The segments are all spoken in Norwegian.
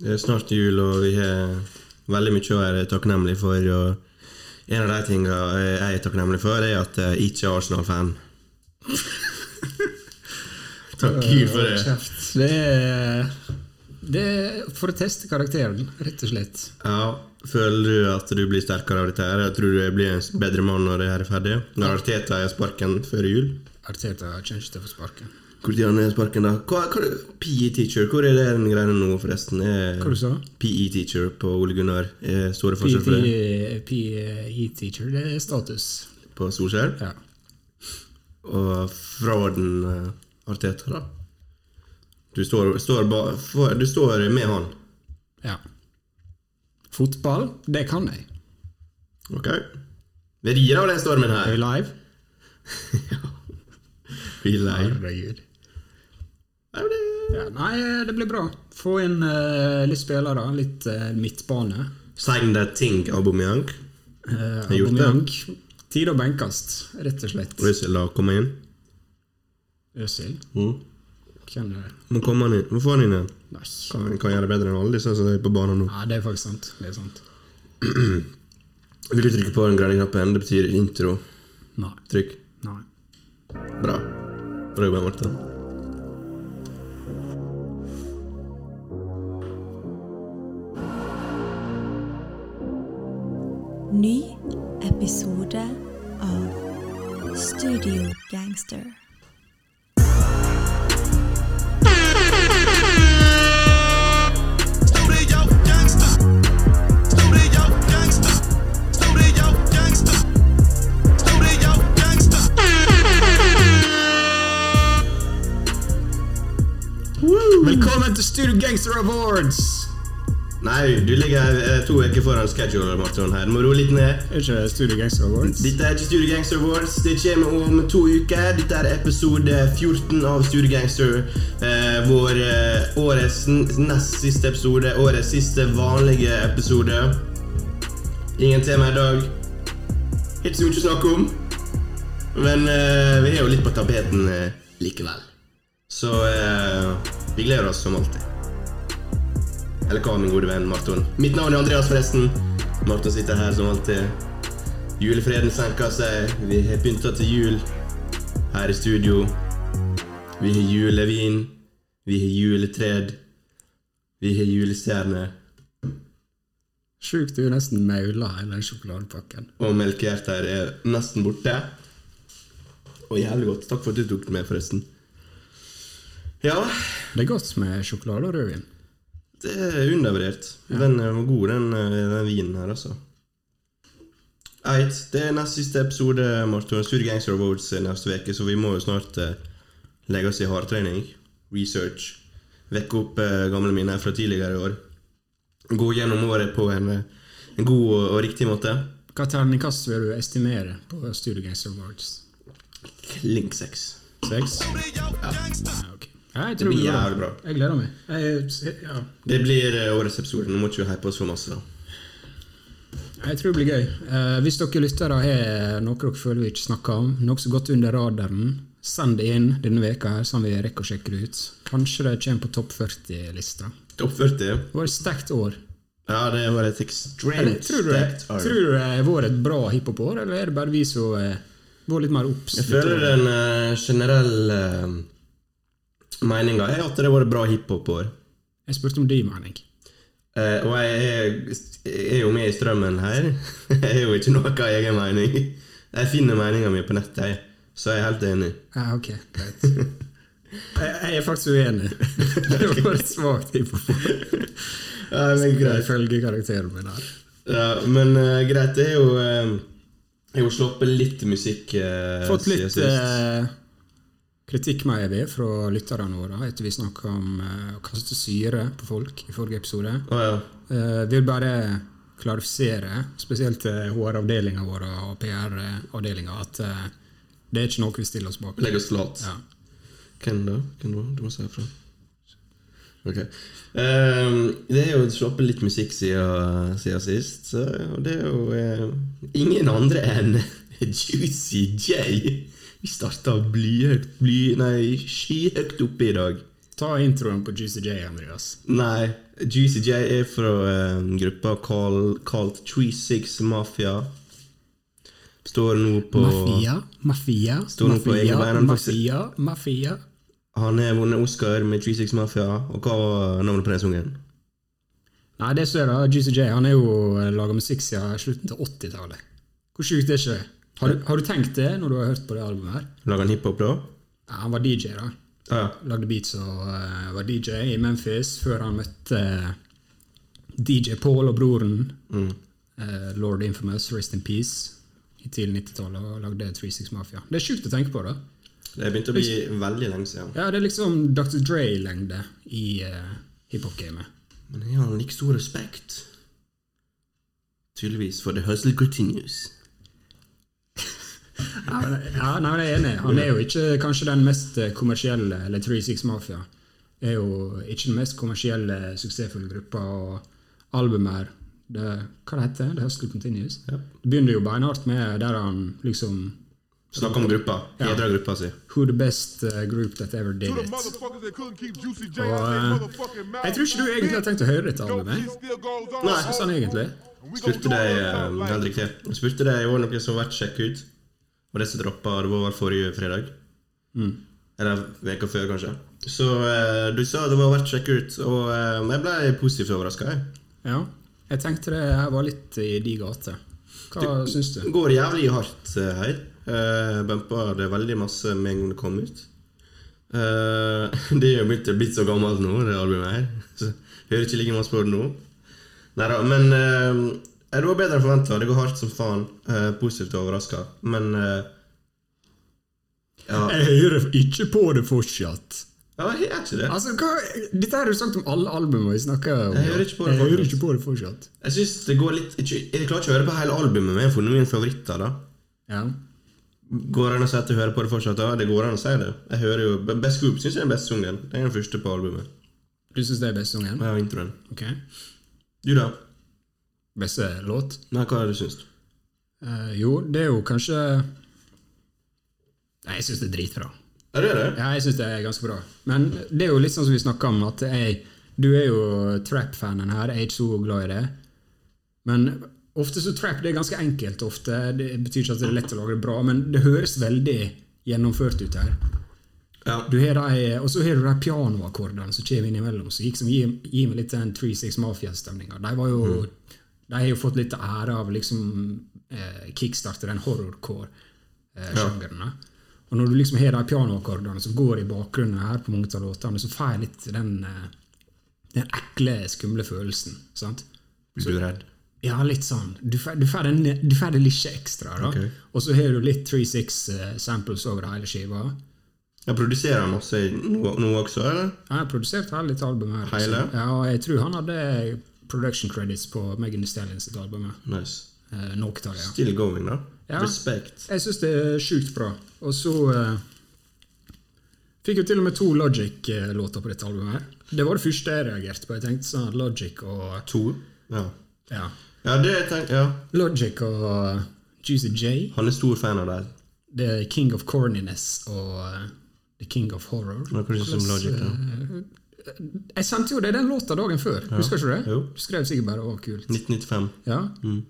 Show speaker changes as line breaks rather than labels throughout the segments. Det er snart jul, og vi har veldig mye å være takknemlig for. Og en av de tingene jeg er takknemlig for, er at jeg ikke er Arsenal-fan. Takk Gud for det.
Eh, Det er, det er for å teste karakteren, rett og slett.
Ja, Føler du at du blir sterkere av dette? her? Jeg tror du blir en bedre mann når det her er ferdig. Når Arteta har sparken før jul.
Arteta kommer ikke til å få sparken.
Når han har sparken da? Hva, hva, er det- PE E teacher, hvor er det den greia nå, forresten? Er- E
Hva du sa
PE teacher på Ole Gunnar. Er Store forskjell for det
PE-teacher, E det er status.
på Solskjær.
Ja.
Og fra den eh, Arteta, da. Du står, står ba, for, du står med han.
ja. Fotball, det kan jeg.
Ok? Vi rir av den stormen
Er vi
her.
live?
Vi er lei.
Herregud.
Ja, men det-
Ja, nei, det blir bra. Få inn eh, litt spillere, litt eh, midtbane.
Sign that thing, Aubameyang.
Uh,
gjort det.
Tid å benkes, rett og slett.
Russell da, kom inn.
Øsil.
Mm.
Hvem er det?
Må komme han inn. Må få han inn igjen.
Nei.
Kan, kan gjøre det bedre enn alle disse som er på banen nå.
Ja, det er faktisk sant. Det er sant.
Vil du trykke på den grønne knappen? Det betyr intro.
Nei.
Trykk.
Nei.
Bra. Bra jobba, Martin.
Ny episode av Studio Gangster.
Studio gangsters. Studio gangsters. Studio gangsters. Studio gangsters.
Velkommen til Studio Gangster Awards!
Nei, du ligger eh, to uker foran schedule, Martin. her. Du må roe litt ned.
Er ikke det Studio Gangster Awards?
Dette er ikke Studio Gangster Awards. Det kommer om to uker. Dette er episode 14 av Studio Gangster. Eh, vår eh, årets n- nest siste episode. Årets siste vanlige episode. Ingen tema i dag. Ikke så mye å snakke om. Men eh, vi har jo litt på tapeten eh, likevel. Så eh, vi gleder oss som alltid. Eller hva, min gode venn Marton? Mitt navn er Andreas, forresten. Marton sitter her som alltid. Julefreden senker seg. Vi har pynta til jul her i studio. Vi har julevin. Vi har juletred. Vi har julestjerner.
Sjukt du nesten maula hele den sjokoladepakken.
Og melkehjerter er nesten borte. Og jævlig godt. Takk for at du tok den med, forresten. Ja,
Det er godt med sjokolade og rødvin.
det er eh, undervurdert. Den er god, den, eh, den vinen her, altså. Eit, det er nest siste episode, Marton. Studio Gangster Awards er neste uke, så vi må jo snart eh, legge oss i hardtrening. Research. Vekke opp eh, gamle minner fra tidligere år. Gå gjennom året på en, eh, en god og, og riktig måte.
Hva terningkast vil du estimere på Studio Gangster Awards?
Link 6.
Seks?
Studio gangsters.
Ja, ok. Ja, Jeg
Det
tror
blir
det går
jævlig bra.
Jeg gleder meg. Jeg, ja.
Det blir eh, årets episode. Nå må ikke vi hype oss for masse. da.
Jeg tror det blir gøy. Eh, hvis dere lyttere har noe dere føler vi ikke snakker om, noe som har gått under radaren, send det inn denne veka her, sånn vi rekker å sjekke det ut. Kanskje det kommer på topp 40-lista.
Topp 40.
Det var et sterkt år.
Ja, det var et
Eller,
ekstremt
tror, du det,
sterkt år.
tror du det har vært et bra hiphop-år, eller er det bare vi som eh, var litt mer obs?
Jeg føler den eh, generelle uh, meninga er at det har vært bra hiphop-år.
Jeg spurte om din mening.
Eh, og jeg er, er jo med i strømmen her. jeg har jo ikke noe egen mening. Jeg finner meninga mi på nettet, jeg. så jeg er helt enig.
Ja, Ah, ok, greit. Jeg, jeg er faktisk uenig. Det var et svakt hiphop-år,
Ja, men greit.
ifølge karakteren min her.
Ja, men eh, greit, det er jo eh, Jeg har jo sluppet litt musikk eh,
fått
siden
litt
sist.
eh, kritikk med vi fra lytterne våre etter vi snakka om eh, å kaste syre på folk i forrige episode.
Å, ja.
Eh, vil bare klarifisere, spesielt til HR-avdelinga vår og PR-avdelinga, at eh, det er ikke noe vi stiller oss bak.
Legg oss flat.
Ja.
Hvem da? Hvem da? Du må si ifra. Ok. Ehm, det er jo sluppet litt musikk siden, siden sist, så, og det er jo eh, ingen andre enn Juicy J. Vi starta blyhøyt bly, Nei, skyhøyt oppe i dag.
Ta introen på Juicy J, Andreas.
Nei, Juicy J er fra eh, gruppa call, called 36 Mafia. Står nå på
Mafia, mafia,
Står noe på egne bein,
mafia,
han faktisk-
mafia, mafia.
Han har vunnet Oscar med 36 Mafia. Og hva var navnet på den sangen?
Nei, det som er da, Juicy J han er jo laga musikk siden slutten til 80-tallet. Hvor sjukt er ikke det? Har du, har du tenkt det når du har hørt på det albumet? her?
Lager han hiphop, da?
Ja, han var DJ, da.
Ah, ja.
Lagde beats og eh, var DJ i Memphis før han møtte eh, DJ Paul og broren. eh, Lord Infamous, Rest in Peace, i tidlig 90-tallet og lagde 36 Mafia. Det er sjukt å tenke på, da.
Det begynte å bli veldig lenge siden.
Ja, det er liksom Dr. Dre-lengde i eh, hiphop-gamet.
Men jeg har like stor respekt. Tydeligvis, for the hustle continues.
Ja, men- ja, nei, men jeg er enig. Han er jo ikke kanskje den mest eh, kommersielle, eller 36 Mafia. Er jo ikke den mest kommersielle, suksessfulle gruppa og albumer. Det, hva det heter det? The Hustle Continues?
Ja.
Det begynner jo beinhardt med der han liksom
Snakk om gruppa. Hedra gruppa si.
Who the best eh, group that ever did it. Og eh, jeg tror ikke du egentlig har tenkt å høre dette albumet.
Nei.
Sånn egentlig.
Spurte de eh, Henrik det. Spurte de i år noe som har vært sjekket ut. Og det som droppa, det var vel forrige fredag. Mm. Eller veka før, kanskje. Så eh, du sa det var verdt å sjekke ut, og eh, jeg ble positivt overraska.
Ja. Jeg tenkte det her var litt i de gater. Hva syns du?
Går jævlig hardt eh, her. Uh, Bumpa det veldig masse med en gang det kom ut. Eh, det er jo blitt, blitt så gammelt nå, det albumet her. Så hører ikke like masse på det nå. Nei da, men eh, det var bedre enn forventa. Det går hardt som faen. Eh, positivt overraska. Men eh, ja.
Jeg hører ikke på det fortsatt.
ja, jeg er ikke det.
Altså, hva, Dette har du sagt om alle albumene vi snakker om.
Jeg hører ikke på det
Jeg hører
fortsatt.
ikke på det fortsatt.
Jeg synes det går litt ikke, Jeg klarer ikke å høre på hele albumet, men jeg har funnet mine favoritter. da
Ja.
Går det an å si at du hører på det fortsatt? Ja, det går an å si det. Jeg hører jo Best Group syns jeg er den beste sangen. Det er den første på albumet.
Du syns det er beste sangen?
Ja, introen.
Ok.
Du, da?
Beste låt?
Nei, hva har du syntes?
Eh, jo, det er jo kanskje Nei, jeg syns det er dritbra.
Ja, det er det?
Ja, jeg syns det er ganske bra. Men det er jo litt sånn som vi snakka om, at jeg Du er jo trap-fanen her, jeg er ikke så glad i det. Men ofte så trap det er ganske enkelt ofte. Det betyr ikke at det er lett å lage det bra, men det høres veldig gjennomført ut her.
Ja.
Du har de, og så har du de pianoakkordene som kommer innimellom, som liksom gir, gir meg litt den 36 Mafia-stemninga. De var jo De har jo fått litt ære av liksom eh, kickstarte den eh, horrorcore-sjangeren. Og når du liksom har de pianoakkordene som går i bakgrunnen her på mange av låtene, så får jeg litt den eh, den ekle, skumle følelsen. sant?
Blir du redd?
Ja, litt sånn. Du får du får den- du får det lille ekstra. da.
Ok.
Og så har du litt 36 eh, samples over hele skiva.
Jeg produserer han masse i- nå, nå også, eller?
Han har produsert hele dette albumet. her.
Hele?
liksom. Ja, og jeg tror han hadde production credits på Megan Thee Stallions sitt album.
Nice.
Eh, Noe av det, ja.
Still going, da.
Ja.
Respekt.
Jeg syns det er sjukt bra. Og så eh, fikk jo til og med to Logic-låter på dette albumet. her. Det var det første jeg reagerte på. Jeg tenkte sånn Logic og
To? Ja.
ja.
Ja, det jeg tenker Ja.
Logic og Juicy J.
Han er stor fan av deg.
The King of Corniness og eh, The King of Horror. Eh,
Noe du synes om Logic, da?
Jeg sendte jo deg den låta dagen før. Husker ikke du det?
Jo.
Du skrev sikkert bare 'Å, kult'.
1995.
Ja.
Mm.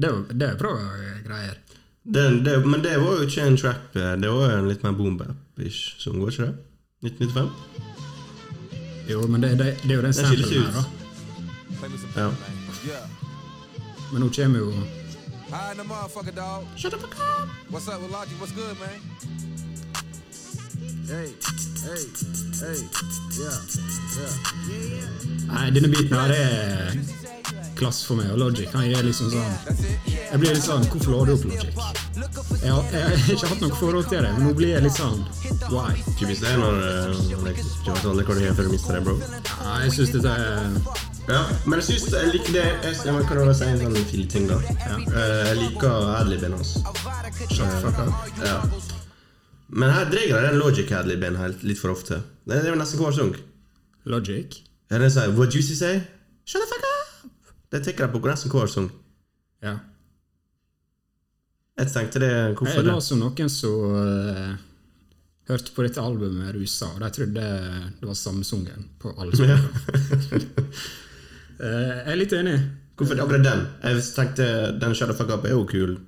Det, er, jo- det er bra eh, greier.
Den, det, men det var jo ikke en trap. eh, Det var jo en litt mer boom-bap-ish som går, ikke det? 1995?
Jo, men det, det, det er jo den
skiller
samplen
seg
her,
ut.
da.
Ja.
Yeah.
Men nå kommer jo
Hi, the motherfucker, dog. Shut the fuck up. What's up with Logic? What's good, man? Hey, hey, hey, yeah,
Nei, denne biten her er klasse for meg, og Logic han er liksom sånn Jeg blir litt sånn Hvorfor la du opp Logic? Jeg, har- jeg har ikke hatt noe forhold til det, men nå blir jeg litt sånn Why?
Typisk det når eh, Alex Johnson aldri klarer å gjøre før du mister deg, bro.
Ja, jeg syns dette er
Ja, men jeg syns jeg liker det Jeg, jeg må kunne si en sånn fin ting, da. Eh, Jeg liker altså. adliben hans.
Shut the fuck up.
Ja. Men her dreier jeg den logic adliben helt litt for ofte. Det det er jo nesten hver sang.
Logic?
Ja, Den sier sånn, 'What Juicy Say'? Shut the fuck up! Det tenker jeg på nesten hver sang.
Ja.
Jeg tenkte det Hvorfor
Jeg
det?
la som noen som eh, hørte på dette albumet rusa, og de trodde det var samsungen på alle spillene. Eh, jeg er litt enig.
Hvorfor akkurat den? Jeg tenkte den Shut the fuck up er jo kul,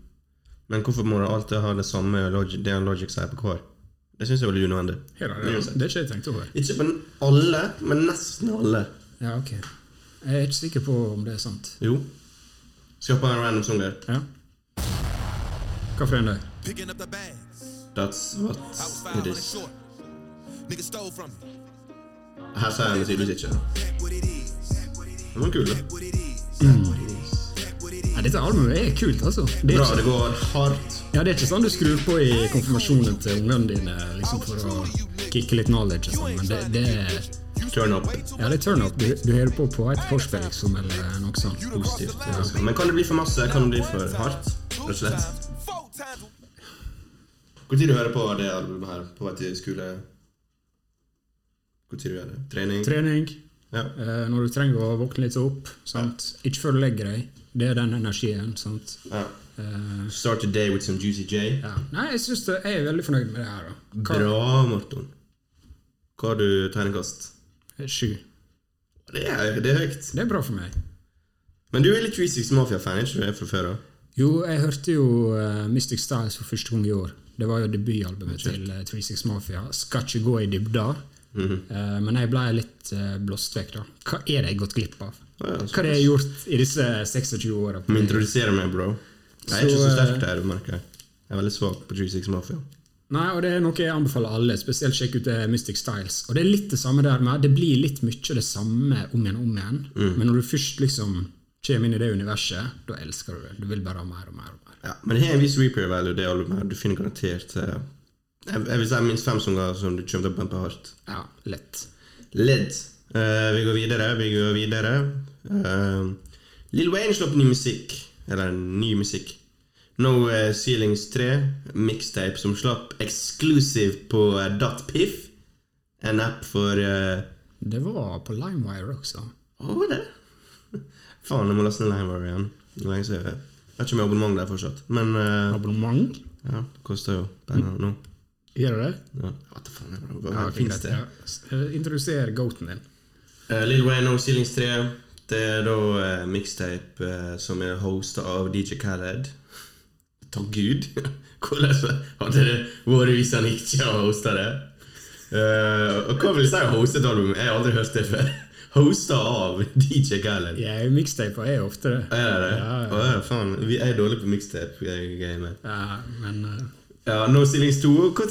men hvorfor må du alltid ha det samme logic, det Logic sier på hver? Det syns jeg er veldig unødvendig.
Her er det, altså. det er ikke jeg tenkte over.
Ikke på n- alle, men nesten alle.
Ja, ok. Jeg er ikke sikker på om det er sant.
Jo. Skape en random song der.
Ja. Hva for en dag?
Picking up the bags.
That's
I
what
was
it
500
is.
short. Nigga stole from me.
Her sier han det tydeligvis ikke.
That what it is.
Den var kul, da.
What it is.
Mm.
That what it is.
Ja, dette albumet er kult, altså. Det er,
Bra, det
ikke,
går hardt.
ja, det er ikke sånn du skrur på i konfirmasjonen til ungene dine liksom for å kicke litt knowledge og sånn, men det, det er
Turn up.
ja, det er turn up. Du, du hører på på et forspill, liksom, eller noe sånt positivt. Ja.
Men kan det bli for masse? Kan det bli for hardt? Rett og slett.
Four times.
Hvor tid du hører på det albumet her? På vei til skole? Hvor tid du gjør det? Trening?
Trening,
Ja.
eh, når du trenger å våkne litt opp, sant? Ikke før du legger deg. Det er den energien, sant?
ja.
Eh,
Start your day with some Juicy J.
ja. Nei, jeg synes det, jeg er veldig fornøyd med det her, da. Hva-
Bra, Morten. Hva har du tegnekast?
Sju.
Det er, det er høyt.
Det er bra for meg.
Men du er litt Juicy Mafia-fan, ikke du er fra før av?
Jo, jeg hørte jo eh, Mystic Styles for første gang i år. Det var jo debutalbumet til uh, 36 Mafia. Skal ikke gå i dybda, eh, men jeg ble litt eh, blåst vekk, da. Hva er det jeg har gått glipp av?
Ja, ja,
Hva har jeg gjort i disse 26 åra?
Må introdusere meg, bro. Jeg er
Så,
ikke så
eh,
sterk der, du merker jeg. Jeg er veldig svak på Juicy Mafia.
Nei, og det er noe jeg anbefaler alle, spesielt sjekk ut eh, Mystic Styles. Og det er litt det samme der med, det blir litt mye det samme om igjen og om igjen, men når du først liksom kommer inn i det universet, da elsker du det. Du vil bare ha mer og mer og mer.
Ja, men det har en viss repair value, det albumet her. Du finner garantert eh, Jeg, jeg vil si minst fem sanger som du kommer til å bumpe hardt.
Ja, lett.
Ledd. Eh, vi går videre, vi går videre. Eh, Lil Wayne slapp ny musikk. Eller ny musikk. No eh, Ceilings 3, mixtape som slapp exclusive på eh, .piff. En app for eh,
Det var på LimeWire også.
Hva var det? Faen, jeg må laste ned Limevar igjen. Det er lenge siden Jeg jeg har ikke med abonnement der fortsatt. Men eh,
Abonnement?
ja, det koster jo penger nå.
Gjør det det?
Ja. Hva da faen er det?
Ja, Eh,
Hva finnes det?
Introduser goaten din.
Eh, Lil Wayne og Ceilings 3. Det er da eh, mixtape eh, som er hosta av DJ Khaled. Takk Gud! Hvordan hadde det vært hvis han ikke hadde hosta det? Eh, og hva vil jeg si å hoste et album? Jeg har aldri hørt det før. Hosta av DJ Khaled.
Ja, mixtaper er jo ofte det.
Er det det?
Ja, ja.
Å, ja, faen. Vi er dårlige på mixtape-gamet.
Ja, men eh,
Ja, No Ceilings 2. Når kom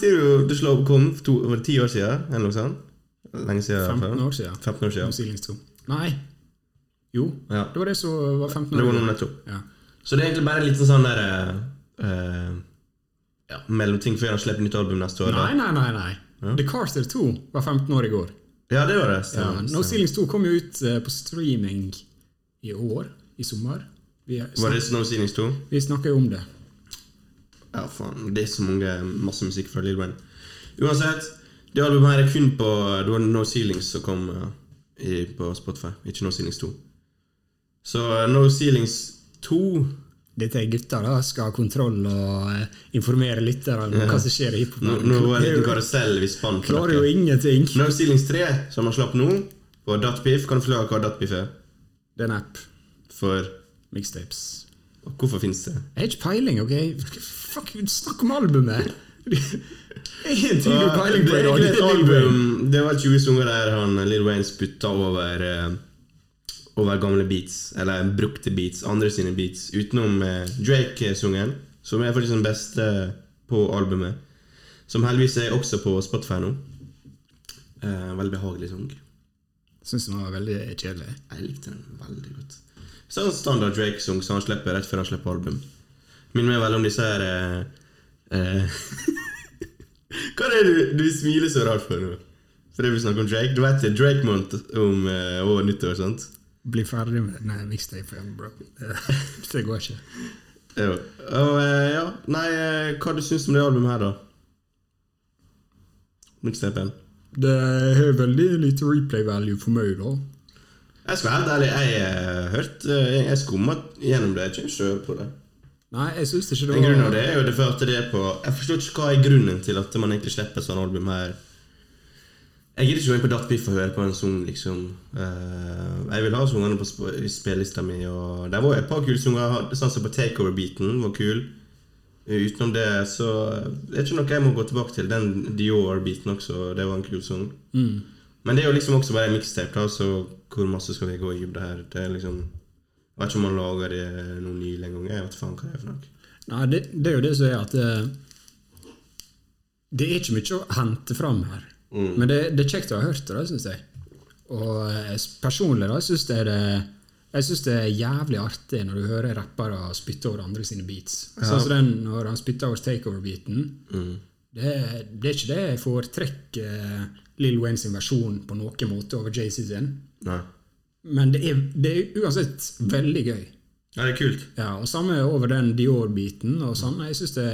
det slå- kom? To, var det ti år siden? Eller noe sånt? Lenge siden? i hvert fall.
15 år siden.
15 år
Om
siden.
Ceilings 2. Nei. Jo,
Ja.
det var det som var 15
Det
år.
var noe nettopp.
Ja.
Så det er egentlig bare en liten sånn der eh, eh, ja, mellomting før han slipper nytt album neste år. da.
Nei, nei, nei. nei. The Carter 2 var 15 år i går.
Ja, det var det.
Ja,
Stemmer.
no Ceilings 2 kom jo ut eh, på streaming i år. I sommer. Vi, er-
Var det No Ceilings 2?
vi snakker jo om det.
Ja, faen. Det er så mange masse musikk fra Lil Wayne. Uansett, det albumet her er kun på Det var No Ceilings som kom eh, i, på Spotify, ikke No Ceilings 2. Så eh, No Ceilings 2
Dette er gutter da, skal ha kontroll og eh, informere lytterne om hva som skjer i
Nå, nå var det en liten
hiphop.
karusell vi spant på
Klarer jo
dere.
ingenting.
No Ceilings 3, som han slapp nå, på Datpiff. Kan du forklare hva Datpiff er?
Det er en app.
For
Mixtapes.
og hvorfor fins det?
Jeg har ikke peiling, OK? Fuck, snakk om albumet! Én ting du har peiling på i dag,
Ah, Det er et
det er Lil Wayne.
album Det var 20 sanger der han Lil Wayne spytta over eh, Over gamle beats, eller brukte beats, andre sine beats, utenom eh, Drake-sungen, som er faktisk den beste på albumet. Som heldigvis er også på Spotify nå. Eh, veldig behagelig sang.
Syns den var veldig kjedelig.
Jeg likte den veldig godt. Sånn standard Drake-sang som han slipper rett før han slipper album. Minner meg veldig om disse her eh, eh, Hva er det du, du smiler så rart for nå? Fordi vi snakker om Drake. Du vet det er Drake Month om eh, over nyttår, sant?
Bli ferdig med Nei, mixtapen, bro. Det går ikke.
Jo. Og eh, ja, nei, eh, hva du syns om det albumet her, da? Mixtapen.
Det har veldig lite replay value for meg, da.
eh, Jeg skal være helt ærlig, jeg har hørt eh, Jeg skumma gjennom det. Jeg kommer ikke over på det.
Nei, jeg syns ikke det
En grunn av
var
det er jo det første det er på Jeg forstår ikke hva er grunnen til at man egentlig slipper et sånt album her. Jeg gidder ikke gå inn på Datpiff og høre på en sang, liksom. Eh, jeg vil ha sangene på sp i spillelista mi, og der var et par kule sanger. Sånn som på Takeover-beaten var kul. Utenom det så Det er ikke noe jeg må gå tilbake til. Den Dior-beaten også, det var en kul sang.
Mm.
Men det er jo liksom også bare en mixtape, da, så hvor masse skal vi gå i dybde her? Det er liksom Jeg vet ikke om man lager det noe nylig engang. Jeg vet faen hva det er for noe.
Nei, det, det er jo det som er at eh, Det er ikke mye å hente fram her. Men det, det er kjekt å ha hørt det, syns jeg. Og eh, personlig da, syns jeg det jeg synes det er jævlig artig når du hører rappere spytte over andre sine beats. Sånn som den når han spytter over takeover-beaten. Det, det er ikke det jeg foretrekker eh, Lil Wayne sin versjon på noen måte over JC sin.
Nei.
Men det er, det er uansett veldig gøy.
Ja, det er kult.
Ja, og samme over den Dior-biten. og sånn, jeg synes det,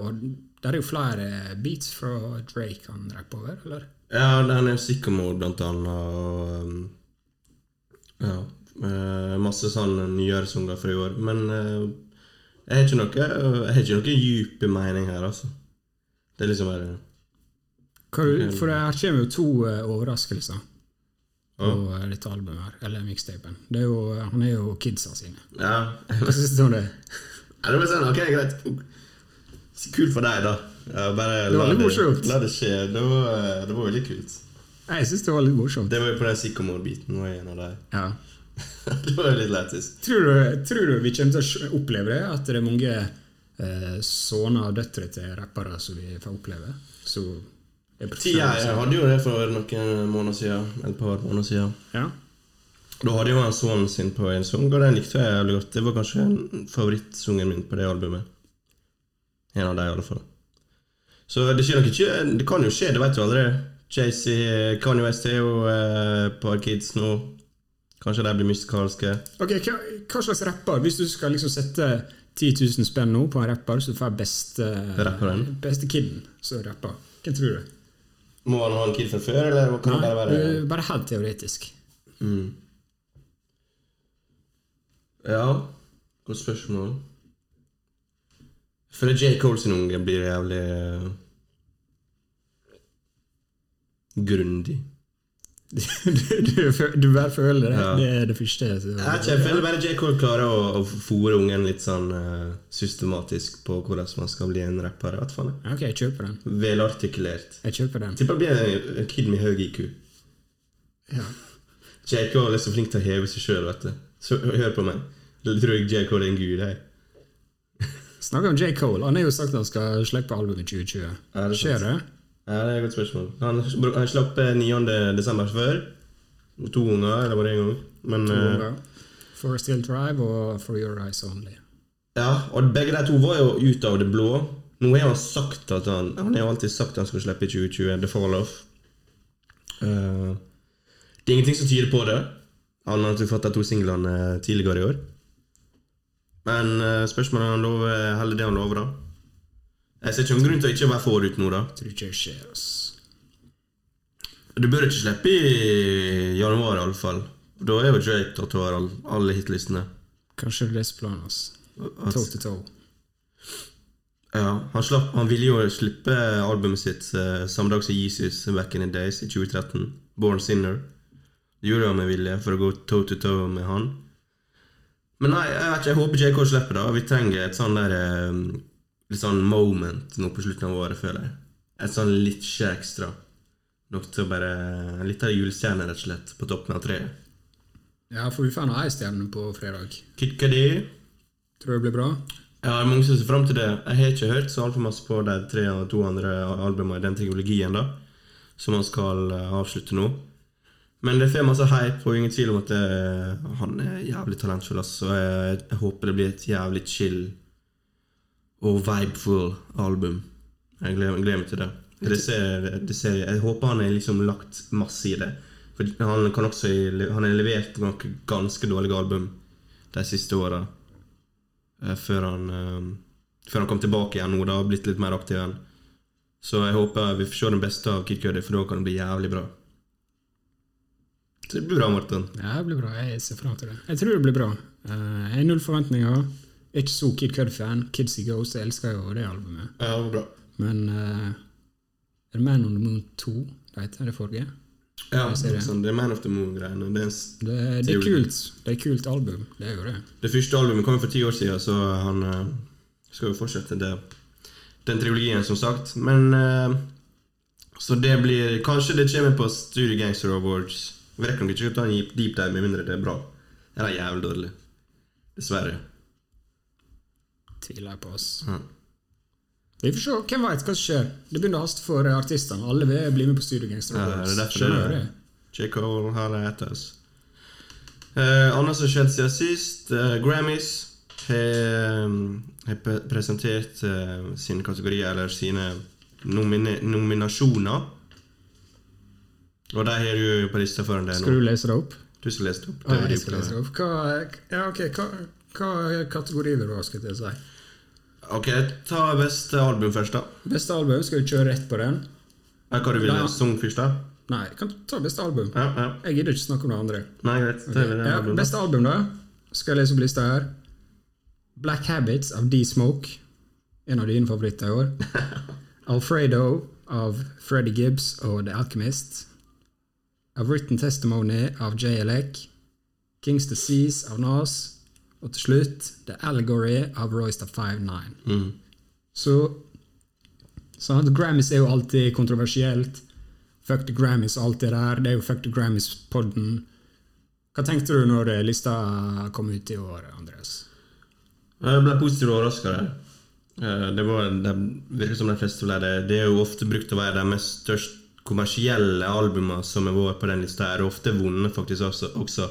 og Der er jo flere beats fra Drake han rapper over, eller?
Ja, den er Sycamore blant annet, og um, Ja. eh, masse sånne nyere sanger fra i år. Men eh, jeg har ikke noe Jeg har ikke noe djup mening her, altså. Det er liksom bare
Hva, du-
Mm.
for her kommer jo to eh, overraskelser på eh, dette albumet, her, eller mixtapen. Det er jo, eh, han er jo kidsa sine.
Ja.
Hva synes du om det?
Ja, det var sånn, ok, greit. Så kult for deg, da. Ja, bare
Det var
la
litt morsomt.
La det skje. Det var, eh, det var veldig kult.
Jeg synes det var litt morsomt.
Det var jo på den Sycamore-biten. var jeg en av de.
Ja.
det var jo litt lættis.
Tror, du, tror du vi kommer til å oppleve det, at det er mange eh, sønner og døtre til rappere som vi får oppleve? Så er på-
Tida, jeg hadde jo det for noen måneder siden. Et par måneder siden.
Ja.
Da hadde jo han sønnen sin på en sang, og den likte jeg jævlig godt. Det var kanskje en favorittsungen min på det albumet. En av de, i alle fall. Så det skjer nok ikke Det kan jo skje, det vet du aldri. Jay-Z, Kanye West er jo eh, et par kids nå. Kanskje de blir musikalske.
Ok, hva, hva slags rapper? Hvis du skal liksom sette 10 000 spenn nå på en rapper, så får jeg beste,
Rapperen.
beste kiden som rapper. Hvem tror du?
Må han ha en kid fra før, eller kan det
Nei,
bare være
du- bare helt teoretisk.
Ja, godt spørsmål. Jeg føler J. Cole sin unge blir jævlig eh, grundig.
Du, du, fø- du bare føler det.
Ja.
Det er det første. Så.
Jeg vet ikke, jeg føler bare J. Cole klarer å, å fòre ungen litt sånn eh, systematisk på hvordan man skal bli en rapper. i hvert fall.
Ok, jeg kjøper den.
Velartikulert.
Jeg kjøper den.
Tipper det blir en, en kid med høy IQ.
Ja.
J. Cole er så flink til å heve seg sjøl, vet du. Så hør på meg. Du tror jeg J. Cole er en gud, jeg.
Snakk om J. Cole. Han har jo sagt at han skal slippe album i 2020.
Ja, det er sant.
Skjer det?
Ja, det er et godt spørsmål. Han, han slapp eh, 9. desember før. To unger, eller var det én gang? Men eh,
For Still Drive og For Your Eyes Only.
Ja, og begge de to var jo ut av det blå. Nå har han sagt at han Han har jo alltid sagt at han skulle slippe i 2020, The Fall Off. Eh, det er ingenting som tyder på det, annet enn at vi fått de to singlene eh, tidligere i år. Men eh, spørsmålet er om han lover heller det han lover, da. Jeg ser ikke noen grunn til å ikke være forut nå, da.
Tror ikke det skjer, ass.
Du bør ikke slippe i januar, iallfall. Da er jo Drake tatt over all- alle hitlistene.
Kanskje det er planen, ass.
At-
Toe to toe.
Ja, han, slapp, han ville jo slippe albumet sitt eh, samme dag som Jesus Back in the Days i 2013. Born Sinner. Det gjorde han med vilje for å gå toe to toe med han. Men nei, jeg vet ikke, jeg håper JK slipper det. Vi trenger et sånn der eh, Litt sånn moment nå på slutten av året, føler jeg. Et sånn litt ekstra. Nok til å bare eh, Litt av julestjerne, rett og slett, på toppen av treet.
Ja, for vi får ei stjerne på fredag.
Kid Cudi
Tror du det blir bra?
Ja, det er mange som ser frem til det. Jeg har ikke hørt så altfor masse på de tre og to andre albumene i den teknologien da, som han skal eh, avslutte nå. Men det får masse hype, og ingen tvil om at eh, han er jævlig talentfull. ass, Og jeg, jeg håper det blir et jævlig chill og vibeful album. Jeg gleder, gleder meg til det. det, ser, det ser, jeg håper han har liksom lagt masse i det. For han, kan også, han har levert noen ganske dårlige album de siste åra eh, før han, eh, før han kom tilbake igjen nå da, og blitt litt mer aktiv igjen. Så jeg håper vi får se den beste av Kid Cudi, for da kan det bli jævlig bra. Så det blir bra, Morten.
Ja, det blir bra. Jeg ser fram til det. Jeg tror det blir bra. Eh, Jeg har null forventninger. Jeg er ikke så Kid Cud-fan. Kids He Goes jeg elsker jo det albumet.
Ja, det var bra.
Men eh, er det Man on the Moon 2 det heter det forrige?
Ja,
Jeg ser det.
sånn, det er Man of the Moon-greiene. Det, er en s-
Det, det er kult. Det er et kult album. Det er jo det.
det første albumet kom jo for ti år siden, så han eh, skal jo fortsette det, den trilogien, som sagt. Men eh, Så det blir Kanskje det kommer på Studio Gangster Awards. Vi rekker nok ikke å ta en deep- deep dive med mindre det er bra. Eller jævlig dårlig. Dessverre.
Tviler jeg på, ass.
Ja.
Vi får se. Hvem veit hva som skjer? Det begynner å haste for eh, artistene. Alle vil bli med på Studio Gangster
Ja, det er
Awards.
derfor
Skjønner
det er-
du det?
J. Cole har det etter oss. Eh, annet som skjedde siden sist, eh, Grammys har eh, har pre- presentert eh, sine kategorier, eller sine nomine nominasjoner. Og de har du på lista foran deg
Skal
nå.
du lese det opp?
Du skal lese det opp.
Ja,
var
jeg
din
skal lese det
oppgave.
opp. Hva, ja, ok, hva, hva kategori vil du ha, skal jeg si?
Ok, ta beste album først, da.
Beste album, skal vi kjøre rett på den?
Eh, Hva du ville
Ja.
Sang først, da?
Nei, kan du ta beste album?
Ja, ja.
Jeg gidder ikke snakke om det andre.
Nei, greit. Det er vel det
Ja,
albumet.
beste album, da? Skal jeg lese opp lista her? Black Habits av D-Smoke. En av dine favoritter i år. Alfredo av Freddie Gibbs og The Alchemist. A Written Testimony av JLEC. Kings Disease av Nas. Og til slutt The Allegory av Royster 59. Så sant, Grammys er jo alltid kontroversielt. Fuck the Grammys og alt det der. Det er jo Fuck the Grammys-podden. Hva tenkte du når eh, lista kom ut i år, Andreas?
Jeg ble positivt overraska. Det var det virker som de fleste ble det. Det er jo ofte brukt å være de mest størst kommersielle albumene som har vært på den lista, her, og ofte vunnet faktisk også. også.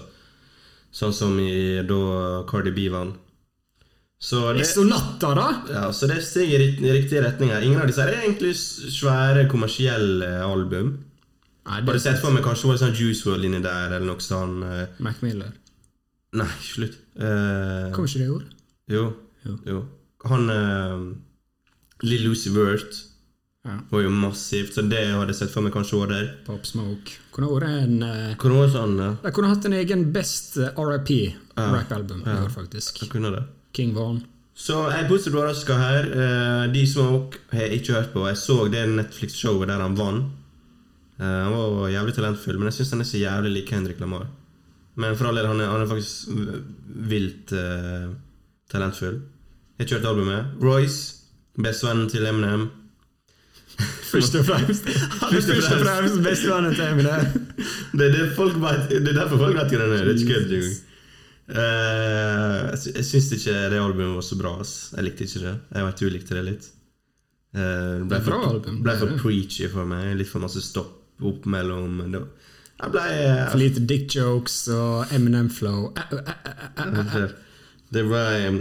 Sånn som i da Cardi B vant. Så det,
Så natta, da!
ja, så det steg i rikt- i riktig retning. her. Ingen av disse her er egentlig s- svære kommersielle album.
Nei,
Har
det
du sett for meg kanskje var det sånn Juice WRLD inni der, eller noe sånn eh,
Mac Miller.
Nei, slutt. Eh,
Kom ikke det i år?
Jo.
Jo.
jo. Han uh, Lill Lucy Wert
Ja.
var jo massivt, så det hadde jeg sett for meg kanskje var der.
Pop Smoke. Kunne vært en eh,
Hvordan var det sånn? eh,
De kunne hatt en egen Best eh, RIP rap-album i år, faktisk.
Jeg kunne det.
King Von.
Så jeg er positivt overraska her. Eh, D-Smoke har jeg ikke hørt på. Jeg så det Netflix-showet der han vant. Eh, han var jævlig talentfull, men jeg syns han er så jævlig lik Henrik Lamar. Men for all del, han er, han er faktisk v- vilt eh, talentfull. Jeg har ikke hørt albumet. Royce, bestevennen til Eminem.
Først og fremst!
Først og fremst
bestevennen til Eminem.
Det er, det, folk vet, det er derfor folk vet hva den er. Det er ikke kødd. jo. Eh, jeg sy- jeg syns ikke det albumet var så bra. Ass. Jeg likte ikke det. Jeg vet du likte det litt. Eh, det ble
Det er bra
for,
album,
ble
det er
for
det.
preachy for meg. Litt for masse stopp opp mellom men det var- Jeg ble eh,
For lite dick jokes og Eminem flow. Eh, eh, eh, eh, eh.
Det det ble eh,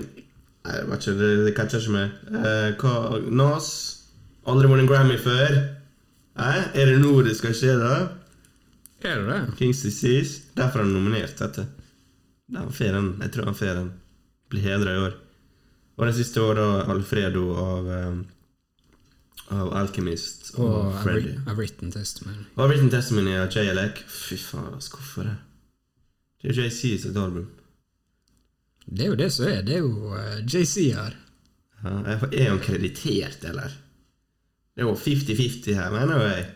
Jeg vet ikke, det, det catcher ikke meg. Eh, hva, Nas Aldri vunnet en Grammy før. Eh, er det nå det skal skje, da?
Er det det?
Kings Disease. Derfor er han nominert, vet du. Det er Han får den. Jeg tror han får den. Blir hedra i år. Og den siste var da Alfredo av eh, Av Alchemist og,
Og I've
Freddy.
writ- I've Written Testimony.
Og Written Testimony av JLEC. Fy faen, ass, hvorfor det? Det er jo JC sitt album.
Det er jo det som er. Det er jo eh, JC her.
Ja, jeg- er han kreditert, eller? Det er jo 50-50 her, mener jo jeg.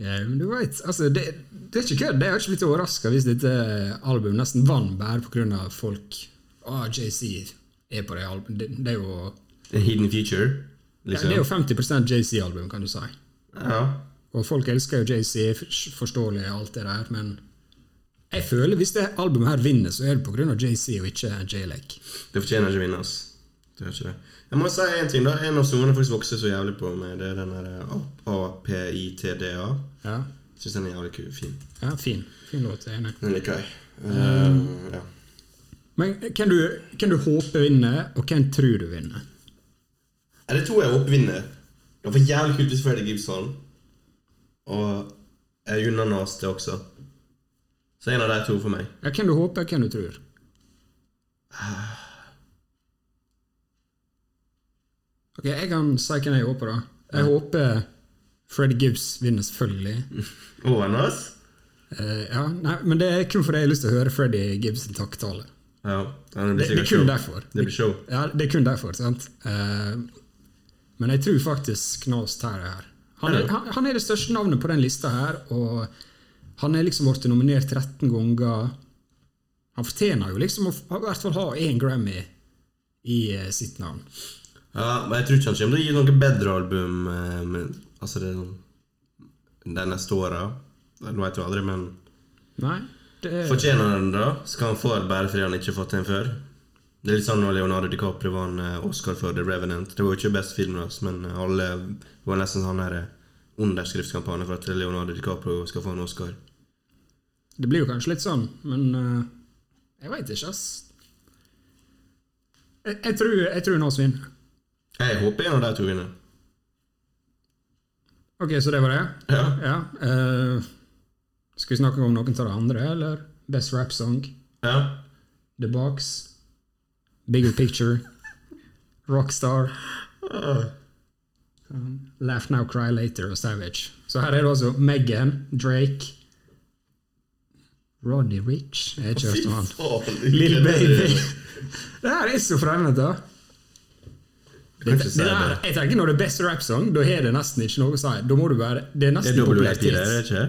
Ja, men du vet, altså, det, det er ikke kødd. Jeg hadde ikke blitt overraska hvis dette albumet nesten vant bare pga. folk ah, JC er på det albumet. Det, det, er jo-
En Hidden Future,
ja,
liksom.
det er jo 50 JC-album, kan du si.
Ja.
Og folk elsker jo JC, f- forståelig og alt det der, men jeg føler hvis det albumet her vinner, så er det pga. JC og ikke JLEC.
Det fortjener ikke å vinne, ass. Det gjør ikke det. Jeg må si en ting, da. En av sonene faktisk vokser så jævlig på meg, det er den der eh, APITDA.
Ja.
Syns den er jævlig kul. Fin.
ja, fin. Fin låt. Jeg er enig.
Den liker jeg. Eh, ja.
Men hvem du, hvem du håper vinner, og hvem tror du vinner?
Er det to jeg håper vinner? Det var jævlig kult hvis Freddy Gibson Og jeg unner Nas det også. Så en av de to for meg.
Ja, hvem du håper, hvem du tror? Ok, jeg kan si hvem jeg håper, da. Jeg håper Fred Gibbs vinner, selvfølgelig.
Og Nas?
Eh, ja, nei, Men det er kun fordi jeg har lyst til å høre Freddy Gibbs' takktale.
Ja, ja, det
Det,
blir
det er
sikkert
kun
show.
derfor.
Det blir show.
Ja, det er kun derfor, sant? Eh, men jeg tror faktisk Knas tar det her. Han
Ja.
er, han, han er det største navnet på den lista her, og han er liksom blitt nominert 13 ganger. Han fortjener jo liksom å f- i hvert fall ha én Grammy i eh, sitt navn.
Ja, men jeg tror ikke han kommer til å gi noe bedre album eh, men, altså det, de neste åra. Nå vet du aldri, men
Nei, det er
Mm. fortjener han det da? Skal han få det bare fordi han ikke har fått en før? Det er litt sånn når Leonardo DiCaprio vant eh, Oscar for The Revenant. Det var jo ikke best filmen hans, men eh, alle det var nesten sånn her eh, underskriftskampanje for at Leonardo DiCaprio skal få en Oscar.
Det blir jo kanskje litt sånn, men eh, jeg veit ikke, ass. Jeg, jeg tror, jeg tror Nas vinner.
Jeg håper en av de to vinner.
Ok, så det var det?
Ja.
Ja. eh, skal vi snakke om noen av de andre, eller? Best rap song,
Ja.
The Box, Bigger Picture, Rockstar,
Ah.
um, Laugh Now, Cry Later og Savage. Så her er det altså Megan, Drake, Roddy Rich Jeg har ikke hørt om han.
faen!
Little Baby. Det her er så fremmed, da.
kan ikke si
Det her,
det.
jeg tenker Når det er best rap song, da har det nesten ikke noe å si. Da må du være Det er
Det er
nesten
WIP, det er
popularitet.
det ikke?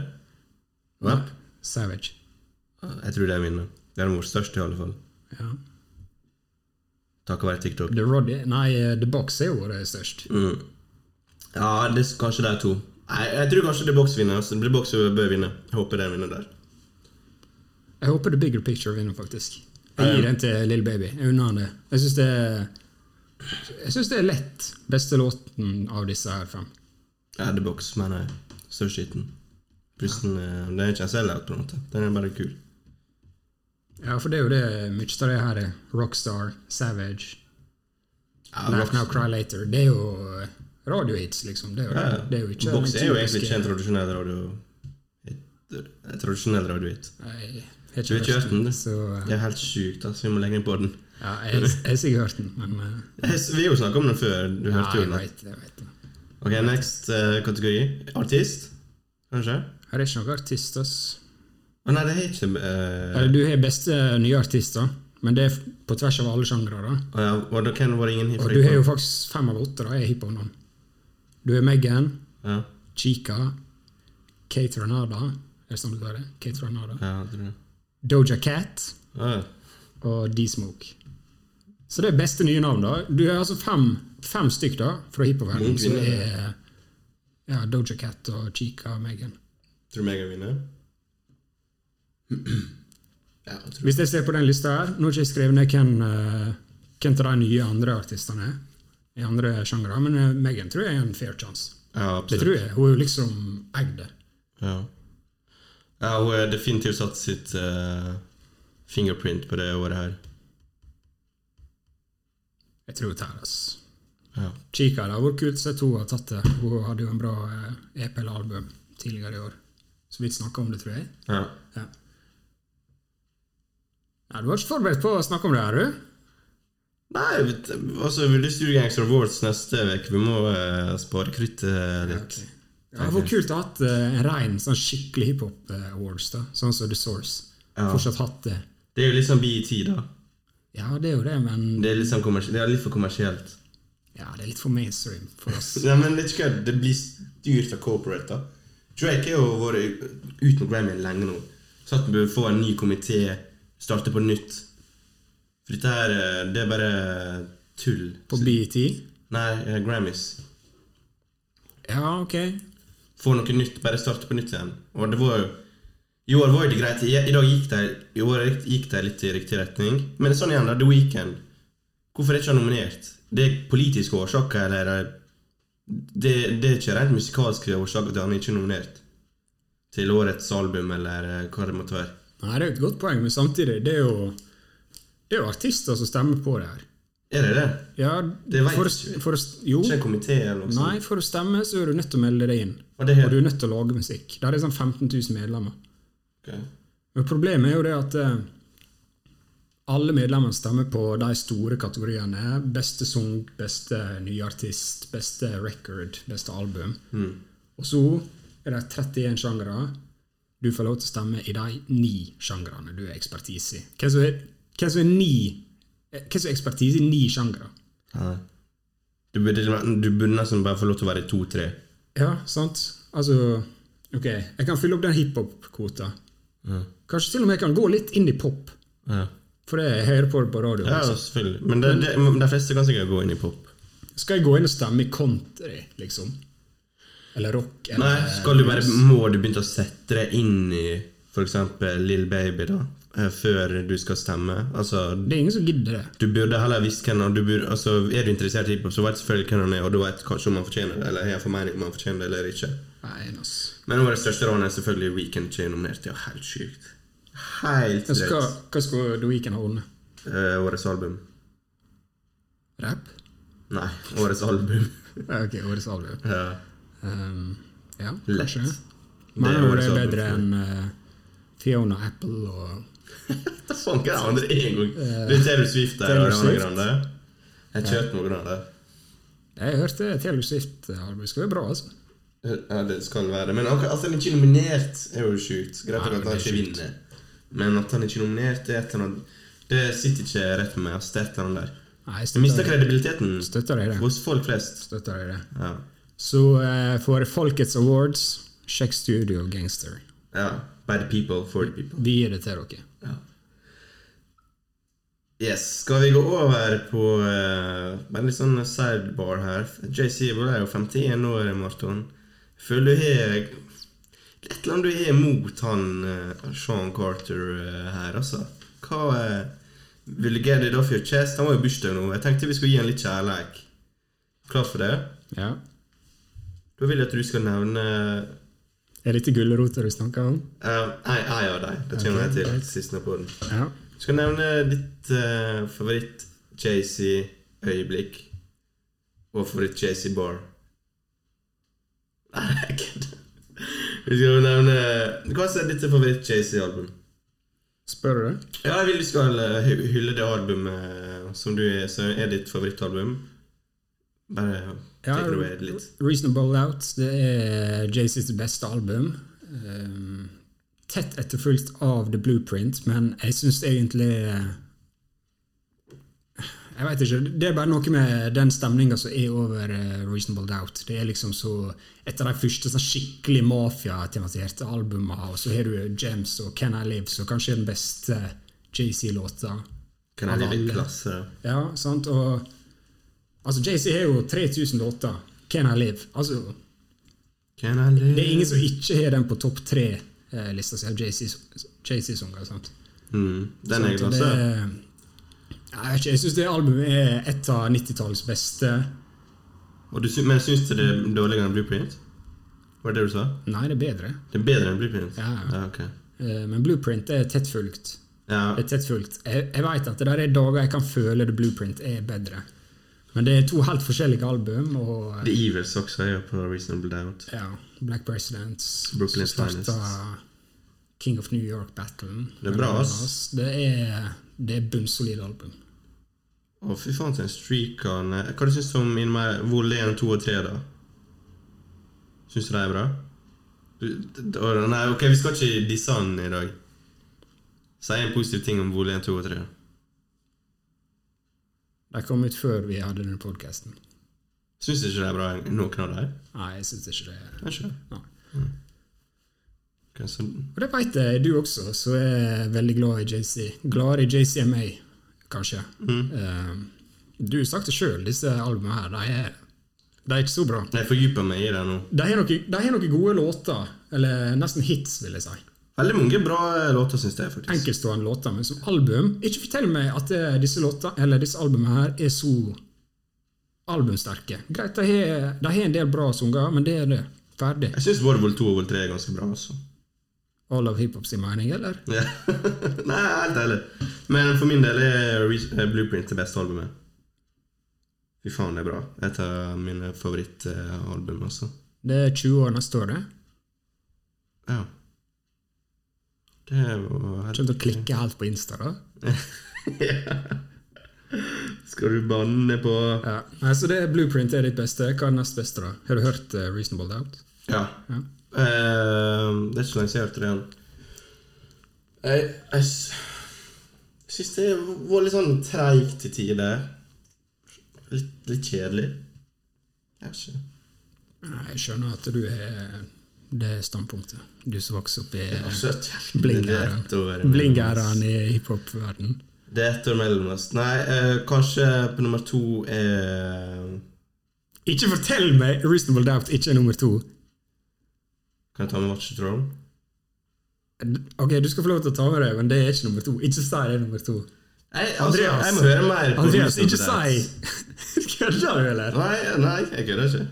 Nei, Savage.
Jeg tror de vinner. Det er den vår største, i alle fall.
Ja.
Takket være TikTok.
The Roddy Nei, eh, The Box er jo det størst.
Mm. Ja, det, kanskje de to. Nei, jeg tror kanskje The Box vinner. Altså. The Box bør vinne. Jeg håper de vinner der.
Jeg håper The Bigger Picture vinner, faktisk. Jeg
Ja, ja.
gir den til Lill Baby. Jeg unner han det. Jeg syns det er jeg synes det er lett beste låten av disse her fem.
Ja, The Box, mener jeg. Største hiten. Plussen eh, Den er ikke en sellout, på en måte. Den er bare kul.
Ja, for det er jo det mye av det her er. Rockstar, Savage,
Ja,
Laugh
Box-
Now Cry Later. Det er jo eh, radiohits, liksom. Det er jo,
Ja,
det er jo ikke
Box
den
er jo
typiske-
egentlig ikke en tradisjonell radio... et- En tradisjonell radiohit.
Nei, jeg har
Du har ikke hørt den, du?
Så, eh,
Det er helt sjukt, altså. Vi må legge inn på den.
ja, jeg jeg har sikkert hørt den, men eh,
Jeg s- Vi har jo snakket om den før. Du
ja,
hørte jo
jeg
den.
vet, jeg vet. det.
Ok, next eh, kategori. Artist, kanskje?
Her er ikke noen artist, ass.
Å nei, det er ikke eh,
Eller du har beste nye artister, men det er f- på tvers av alle sjangre. da.
å ja, Og da kan det være ingen
Og du har
hiphop?
jo faktisk fem av åtte. da, er hiphop nå. Du har Megan,
Ja,
Chica, Kate Renada Er det sånn du tar det? Kate Renada.
ja, jeg tror det.
Doja Cat
Å, ja.
og D-Smoke. Så det er beste nye navn. da. Du har altså fem, fem stykk da, fra hiphop-verdenen
Mange
som
kvinner,
er ja, Doja Cat og Chica og Megan.
Tror du Megan vinner? ja, jeg tror
Hvis jeg ser på den lista her Nå har ikke jeg skrevet ned hvem, eh, hvem til de nye andre artistene er, i andre sjangre, men eh, Megan tror jeg er en fair chance.
Ja,
Det
absolutt.
tror jeg. Hun er jo liksom eid det.
Ja. ja, hun har definitivt satt sitt eh, fingerprint på det året her.
Jeg tror hun tar det. ass.
Ja.
Chica det har vært kult sett hun har tatt det. Hun hadde jo en bra eh, EP eller album tidligere i år. Så vidt snakka om det, tror jeg.
ja.
Ja. Nei, du var ikke forberedt på å snakke om det her, du?
Nei, vet- altså, vi blir Studio Gangster Awards neste uke. Vi må eh, spare kruttet eh, litt.
Ja, det var kult å ha hatt eh, en rein sånn skikkelig hiphop-awards, da. sånn som The Source.
Ja.
Fortsatt hatt det.
Det er jo liksom BET, da.
Ja, det er jo det, men
Det er, liksom kommersi- det er litt for kommersielt.
ja, det er litt for mainstream for oss.
Nei, men det er ikke kødd. Det blir styrt av corporate, da. Drake har jo vært uten Grammy lenge nå. Så at vi bør få en ny komité, starte på nytt. For dette her, eh, det er bare tull.
På E BET.
Nei, eh, Grammys.
Ja, ok.
Få noe nytt, bare starte på nytt igjen. Og det var jo I år var jo det greit. I, i dag gikk det, i år gikk det litt i riktig retning. Men sånn igjen, da. The Weekend. Hvorfor er ikke han nominert? Det er politiske årsaker, eller er det, det er ikke rent musikalske årsaker til han ikke er nominert til årets album, eller eh, hva det måtte være.
Nei, det er jo et godt poeng, men samtidig, det er jo, det er jo artister som stemmer på det her.
Er det det?
Ja,
Det vet
for,
ikke
å-
vi.
for, å- Jo,
Ikke en komité eller noe
nei,
sånt?
for å stemme så er du nødt til å melde deg inn.
Og det er-
Og du er nødt til å lage musikk. Der er det sånn 15 000 medlemmer.
Ok.
Men problemet er jo det at eh, alle medlemmene stemmer på de store kategoriene. Beste sang, beste nye artist, beste record, beste album. Og så er det 31 sjangere. Du får lov til å stemme i de ni sjangrene du er ekspertise i. Hvem som er Hvem som er ni eh, Hvem som er ekspertise i ni sjangere.
Nei. Du burde, du burde nesten bare få lov til å være to-tre.
Ja, sant? Altså Ok, jeg kan fylle opp den hiphop-kvota. Kanskje til og med jeg kan gå litt inn i pop,
Ja.
for det jeg hører på det på radio.
ja,
liksom.
selvfølgelig. Men det, det, de fleste kan sikkert gå inn i pop.
Skal jeg gå inn og stemme i country, liksom? Eller rock? Eller
Nei, skal du bare, må du begynne å sette deg inn i f.eks. Lill Baby, da? eh, Før du skal stemme? Altså,
Det er ingen som gidder det.
du burde heller visst hvem han du burde, altså, Er du interessert i hiphop, så vet du selvfølgelig hvem han er, og du vet kanskje om han fortjener det, eller har en formening om han fortjener det eller ikke.
Nei, ass.
Men årets største ran er selvfølgelig Weekend Chain nominert. Det er helt sjukt. Helt
Altså, hva,
drøyt.
hva skal The Weeknd ha ordnet?
Eh, årets album.
Rap?
Nei, årets album.
Ja, Ok, årets album.
ja.
Um, ja,
Lett.
kanskje.
Det er
Men det
årets
er
album
bedre
for
enn eh, Fiona Apple og
Da faen hva er det andre en gang? Det er Taylor Swift der.
Eh, Taylor
Taylor Swift.
Swift.
Grande. Jeg kjørte noe grande.
Jeg hørte Taylor Swift-album. Skal være bra, altså.
Ja, det skal være. Men akkurat at han ikke er nominert, er jo sjukt. Greit
Nei,
nok at han
det er
ikke
sjukt.
vinner. Men at han ikke er nominert, det er et eller annet Det sitter ikke rett med meg. ass. Det er et eller annet der.
Nei, jeg
Jeg mister
støtter deg.
kredibiliteten
Støtter deg i det.
hos folk flest.
Støtter deg i det.
Ja.
Så eh, for Folkets Awards, sjekk Studio Gangster.
ja. By the people, for the people.
Vi gir det til dere.
Yes, Skal vi gå over på eh, bare litt sånn sidebar her? JC Ebola er jo 51 år, Marton. Føler du har Et eller annet du har mot han eh, Sean Carter eh, her, altså. Hva eh, Will you get it off your chest? Han var jo i bursdag nå. Jeg tenkte vi skulle gi han litt kjærlighet. Klar for det?
Ja.
Da vil jeg at du skal nevne
Er dette gulroter du snakker om?
eh, Nei, ei av dem. Det kommer jeg til sist nå på den.
Ja.
Du skal nevne ditt eh, favoritt JC-øyeblikk og favoritt JC-bar. Nei, jeg kødder. Du skal nevne Hva er ditt favoritt JC-album?
Spør du det?
Ja, jeg vil du skal eh, hy- hylle det albumet eh, som du er, som er ditt favorittalbum. Bare take it away litt.
Reasonable Out. Det er JCs beste album. Um, tett etterfulgt av The Blueprint, men jeg syns egentlig eh, Jeg veit ikke. Det er bare noe med den stemninga som er over eh, Reasonable Doubt. Det er liksom så Et av de første sånn skikkelig mafiatematiserte albumene, og så har du Gems og Can I Live, som kanskje er den beste JC-låta.
Kan jeg gi litt klasse?
Ja, sant, og Altså, JC har jo 3000 låter. Can I Live? Altså,
Can I live?
det er ingen som ikke har den på topp eh, tre-lista si av JC-sanger. sant?
mm, Den er jeg
Så Sånn det
klasse.
er- Jeg vet ikke, jeg syns det albumet er et av 90-tallets beste.
Og du, sy- men syns du det er dårligere enn Blueprint? Var det det du sa?
Nei, det er bedre.
Det er bedre enn Blueprint?
Ja, ja.
ja ok.
Eh, Men Blueprint er tett fulgt.
Ja,
Det er tett fulgt. Jeg, jeg veit at det der er dager jeg kan føle The Blueprint er bedre. Men det er to helt forskjellige album, og
The Evils også er jo på Reasonable Doubt.
ja, Black Presidents
Brooklyn
som starta
Finest.
King of New York-battlen.
Det er bra, ass.
Det er, det er bunnsolid album.
Å, fy faen, til en streak han Hva du syns du om In My Vol 1, 2 og 3, da? Syns du de er bra? Du, d- d- å, nei, ok, vi skal ikke disse han i dag. Si en positiv ting om Vol 1, 2 og 3.
De kom ut før vi hadde denne podkasten.
Syns du ikke de er bra, noen av dem?
Nei, jeg syns ikke det.
Kanskje.
Nei.
Ok, så,
Og det veit jeg du også, så jeg er veldig glad i JC. Gladere i JCMA, kanskje.
Mhm.
Eh, du har sagt det sjøl, disse albumene her, de er, de er ikke så bra.
jeg fordyper meg i det nå.
De har noen, de har noen gode låter, eller nesten hits, vil jeg si.
Veldig mange bra eh, låter, syns jeg, faktisk.
enkeltstående låter, men som album Ikke fortell meg at eh, disse låter, eller disse albumene her er så albumsterke. Greit, de har- de har en del bra sanger, men det er det. Ferdig.
Jeg syns både Vol 2 og Vol 3 er ganske bra, altså.
All of hiphop sin mening, eller?
Ja. Nei, helt ærlig. Men for min del er Re- eh, Blueprint det beste albumet. Fy faen, det er bra. Et av mine favorittalbum, altså.
Det er 20 år neste år, det.
Ja. Det er jo helt
Kommer til å klikke helt på Insta, da.
Skal du banne på
Ja. Nei, så det er Blueprint er ditt beste. Hva er nest beste, da? Har du hørt eh, Reasonable Doubt?
Ja. Ehm,
Ja.
Eh, det er ikke så lenge siden jeg hørte det igjen. Jeg, jeg s- Syns det var litt sånn treigt til tider. Litt, litt kjedelig. Jeg vet ikke.
Nei, Jeg skjønner at du har det standpunktet. Du som vokste opp i
Altså, jeg- det er ett år
bling-æraen
mellom
Bling-æraen i hiphop-verdenen.
oss. Det er ett år mellom oss. Nei, eh, kanskje på nummer to er
Ikke fortell meg Reasonable Doubt ikke er nummer to!
Kan jeg ta med Watch the Throne?
Ok, Du skal få lov til å ta med det, men det er ikke nummer to. Ikke si det er nummer to.
Nei, altså,
Andreas.
jeg må høre mer på
Andreas,
Reasonable
ikke si! Kødder du, eller?
Nei, nei, jeg kødder ikke.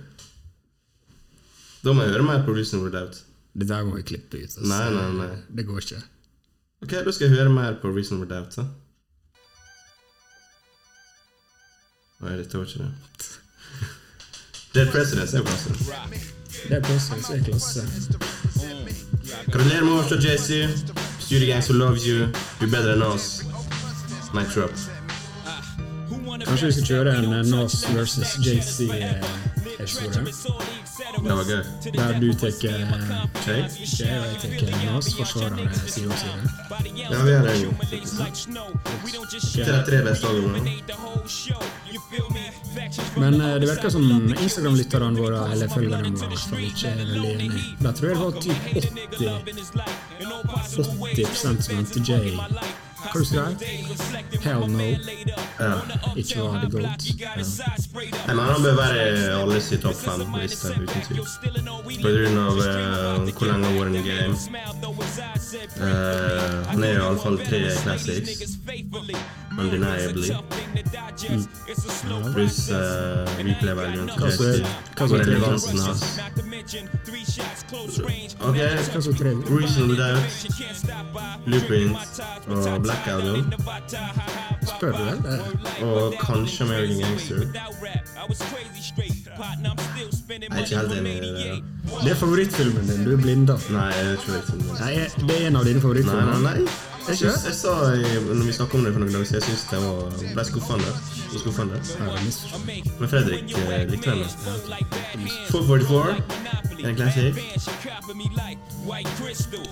Da må jeg høre mer på Reasonable Doubt.
Det der må vi klippe ut. Altså.
Nei, nei, nei.
Det går ikke.
Ok, da skal jeg høre mer på Reasonable Doubt, da. Nei, dette var ikke det. Dead Presidents er jo klasse.
Det er Process er klasse.
Gratulerer med oss, Jesse. Studio Gangs Who Loves You. Du er bedre enn oss. Night Trap.
Kanskje vi skal kjøre en eh, Nas versus eh, JC-episode?
Det var gøy.
Der du tar eh,
Jay?
Jay, og jeg tar Nas, forsvarer eh, side om side.
Ja, vi er det jo. faktisk. Det er tre beste albumene.
Men eh, det virker som Instagram-lytterne våre, eller følgerne våre, i hvert fall ikke er veldig enige. De tror jeg det var typ 80 80 som mente Jay. Hva du skal du? Hell no.
Ja.
Ikke var det gold.
Jeg mener han bør være i alle sitt topp fem-liste, uten tvil. På grunn av eh, hvor lenge han har vært i game. Eh, han er jo iallfall tre classics. Undeniably. Pluss uh, replay-valuen.
Hva så er- hva så er
Og
tre
relevansen hans. Ok,
Hva så tre?
Reasonable Doubt, Blueprint og Black Album.
Spør du, eller?
Og kanskje American Gangster. Jeg er ikke helt enig i det. da.
Det er favorittfilmen din. Du er blinda.
Nei, jeg tror ikke det.
Nei, det er en av dine
Nei, nei,
favorittfilmer.
nei. Jeg, syns, jeg sa i- når vi snakket om det for noen dager siden, jeg syns det var ble skuffende. Og skuffende. Men Fredrik eh, likte den. da. 444 er en classic.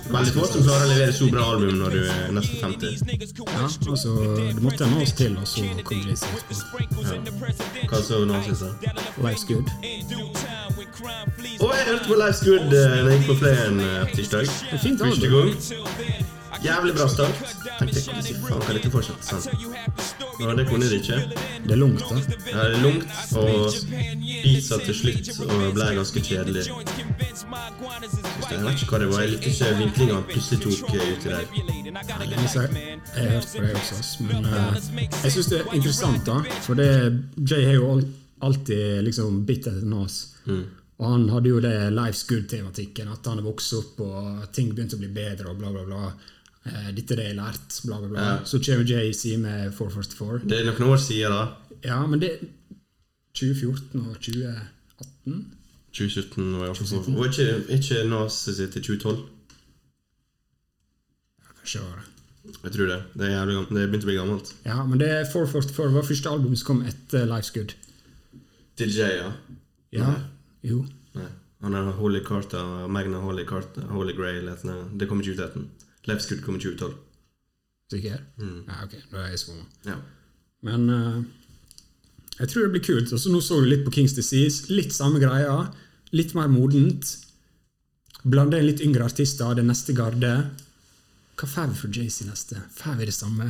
Veldig få som klarer å levere så bra album når du er nesten 50.
Ja, altså, det måtte en Nas til, og så kom JC etterpå.
Hva så nå syns jeg?
Life's good.
Og jeg hørte på Life's Good eh, når jeg gikk på playen eh, tirsdag.
er fint
Første gang.
album.
Jævlig bra start. Tenkte jeg, fy faen, kan dette fortsette sånn? Men det kunne det ikke.
Det er langt, da.
Ja, det er lungt, og pizza til slutt og ble ganske kjedelig. Synes det- Jeg vet ikke hva det var. Jeg likte ikke vinklinga han plutselig tok eh, uti der.
Altså, jeg har hørt på det også, ass, men eh, jeg syns det er interessant, da. For det, Jay har jo al- alltid liksom bitt etter Nas.
Mm.
Og han hadde jo det Life's Good-tematikken, at han har vokst opp og ting begynte å bli bedre og bla, bla, bla. Eh, Dette er det jeg har lært, bla, bla, bla.
Ja.
Så kommer Jay sier med 444.
Det er noen år siden, da.
Ja, men det 2014 og 2018
2017 var jeg også på. Var ikke, ikke Nas sitt til 2012?
Kanskje det var det.
Jeg tror det. Det, er jævlig gammelt. det begynte å bli gammelt.
Ja, men det 444 var første album som kom etter Life's Good.
DJ, ja.
Ja, jo.
Nei. Han er Holy Carter, Magna Holy Carter, Holy Grail heter den. Det kom i 2013. Left Good kom i 2012.
Sikker?
Mm.
Ja, ok. Da er jeg svommer.
Ja.
Men eh, jeg tror det blir kult. Også nå så du litt på Kings Disease. Litt samme greia. Litt mer modent. Blande inn litt yngre artister. Det er neste garde. Hva får vi for Jay-Z neste? Får vi det samme?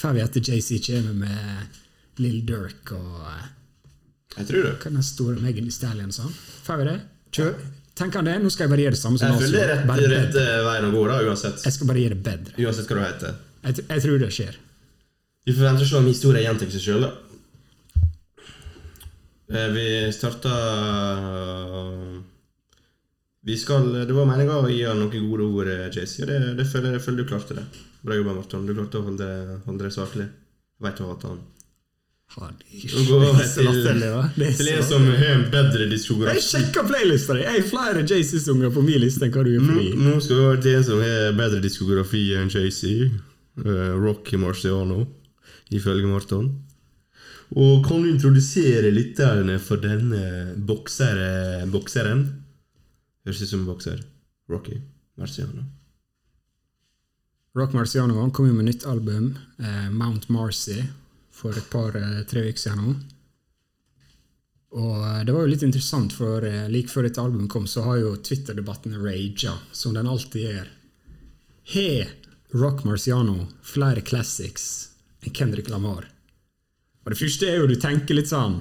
Får vi etter Jay-Z kommer med Lill Durk og eh,
Jeg tror det.
hva er den store Megan Thee Stallion sa? Får vi det? Kjør. Tenker han det? Nå skal jeg bare gjøre det samme som
Jeg føler det er
Nas gjorde.
rett,
Bare
rett
bedre.
eh, veien å gå, da, uansett.
Jeg skal bare gjøre det bedre.
Uansett hva du heter.
Jeg, tr- jeg tror det skjer.
Vi får vente og se om historien gjentar seg sjøl, da. Eh, Vi starta Vi skal Det var meninga å gi han noen gode ord, eh, JC, og det, det føler jeg føler du klarte det. Bra jobba, Marton. Du klarte å holde det- holde det saklig. Veit du hater han.
Faen, det
Nå går
er
vi
så latterlig, da. Det
til, til
er så
en som har en bedre
Jeg
diskografi.
sjekka playlista di! Jeg har flere JC-sanger på min liste enn hva du
Mm,
gjør på min.
Nå skal vi over til en som har bedre diskografi enn JC. eh, Rocky Marciano, ifølge Marton. Og kan du introdusere lytterne for denne boksere, bokseren? Høres ut som en bokser. Rocky Marciano.
Rock Marciano han kom jo med nytt album, eh, Mount Marcy, for et par-tre uker siden nå. Og eh, det var jo litt interessant, for eh, like før dette albumet kom, så har jo Twitter-debatten raga, som den alltid gjør. Har Rock Marciano flere classics enn Kendrick Lamar? Og det første er jo du tenker litt sånn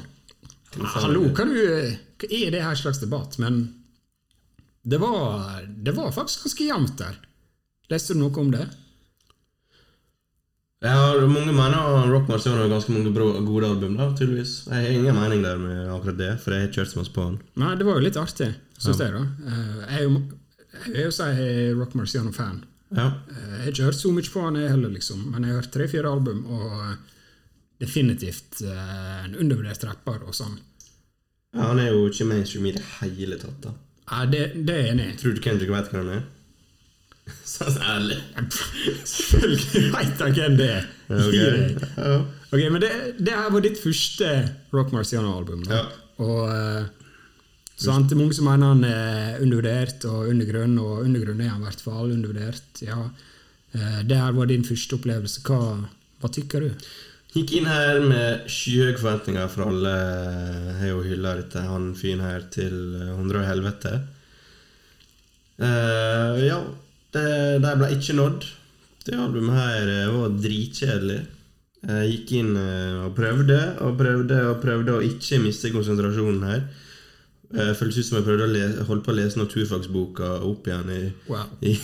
Hallo, kan du hva Er det her slags debatt? Men det var, det var faktisk ganske jevnt der. Leste du noe om det?
Jeg har mange mener Rock Marciano har ganske mange bra, gode album, da, tydeligvis. Jeg har ingen mening der med akkurat det, for jeg har ikke hørt så mye på han.
Nei, det var jo litt artig, syns jeg, da. Eh, Jeg er jo, jeg er jo så jeg er Rock Marciano-fan.
Ja.
Eh, Jeg har ikke hørt så mye på han jeg heller, liksom, men jeg har hørt tre-fire album, og eh, definitivt eh, en undervurdert rapper og sånn.
ja, han er jo ikke mainstream i det hele tatt, da.
Nei, det, det er jeg enig i.
Tror du Kendrick vet hvem han er? Sånn ærlig.
Selvfølgelig veit jeg hvem det er! Gi deg.
Ok. Ja.
Ok, men det, det her var ditt første Rock Marciano-album. da.
Ja.
Og eh, sant, det er Mange som mener han er undervurdert og undergrunn, og undergrunn er han i hvert fall. undervurdert, ja. Eh, Det her var din første opplevelse. Hva, hva tykker du?
Gikk inn her med skyhøye forventninger fra alle. Jeg har jo hylla dette han fyren her til hundre og helvete. Eh, ja, det- de ble ikke nådd. Det albumet her eh, var dritkjedelig. Jeg gikk inn eh, og prøvde og prøvde og prøvde å ikke miste konsentrasjonen her. Uh, føltes ut som jeg prøvde å le holde på å lese naturfagsboka opp igjen i,
Wow.
i,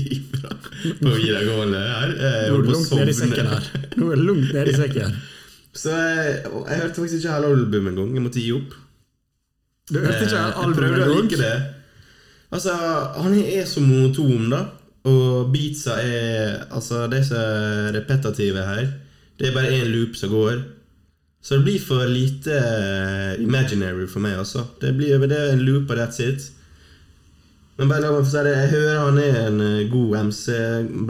i fra, på videregående. her. Eh, Jeg
Nå er
holdt
det
på å
langt ned i
sovne.
sekken her. Nå er det langt ned i sekken.
Så jeg, og jeg hørte faktisk ikke hele albumet engang. Jeg måtte gi opp.
Du hørte ikke
Eh, jeg
albumet
prøvde å like
engang?
det. Altså, han er så monotom, da. Og beatsa er Altså, det er så repetitive her. Det er bare én loop som går. Så det blir for lite eh, imaginary for meg, altså. Det, blir, det er en loop og that's it. Men bare la meg få si det, jeg hører han er en eh, god MC,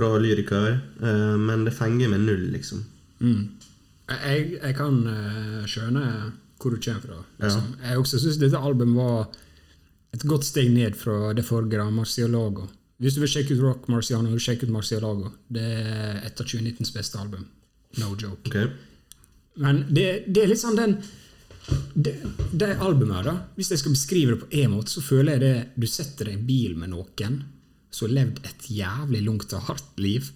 bra lyriker, eh, men det fenger meg null, liksom.
Jeg, jeg kan eh, skjønne hvor du kommer fra. Liksom. Jeg også syns dette albumet var et godt steg ned fra det forrige, Marcialago. Hvis du vil sjekke ut Rock Marciano, sjekk ut Marcialago. Det er et av 2019s beste album. No joke.
Ok?
Men det, det er litt sånn den det, det albumet her, da. Hvis jeg skal beskrive det på én måte, så føler jeg det Du setter deg i bil med noen som har levd et jævlig langt og hardt liv,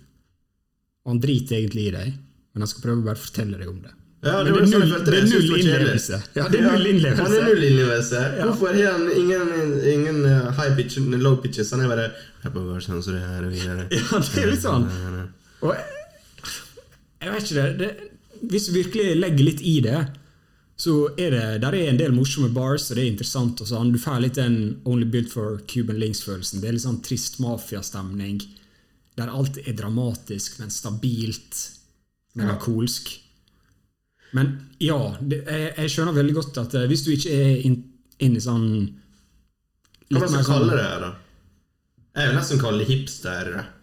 og han driter egentlig i deg, men han skal prøve å bare fortelle deg om det.
Ja, det
Men
var sånn jeg følte
det
det.
er
Jeg synes
null
var kjedelig.
innlevelse. Ja, det er null innlevelse.
Han er null innlevelse.
Ja.
Hvorfor har han ingen, ingen eh, high pitch, low pitches? Han er bare jeg bare var sånn, så det her og videre.
Ja, det er litt sånn. Og jeg, jeg vet ikke det, det Hvis du virkelig legger litt i det, så er det der er en del morsomme bars, og det er interessant. og sånn. Du får litt den Only Built for Cuban Links-følelsen. Det er litt sånn trist mafiastemning. Der alt er dramatisk, men stabilt. Melankolsk. Men ja, det, jeg, jeg skjønner veldig godt at eh, hvis du ikke er inn inn i sånn
Hva man
mer
skal
sånn-
kalle det her, da? Jeg vil nesten kalle det hipster-rap.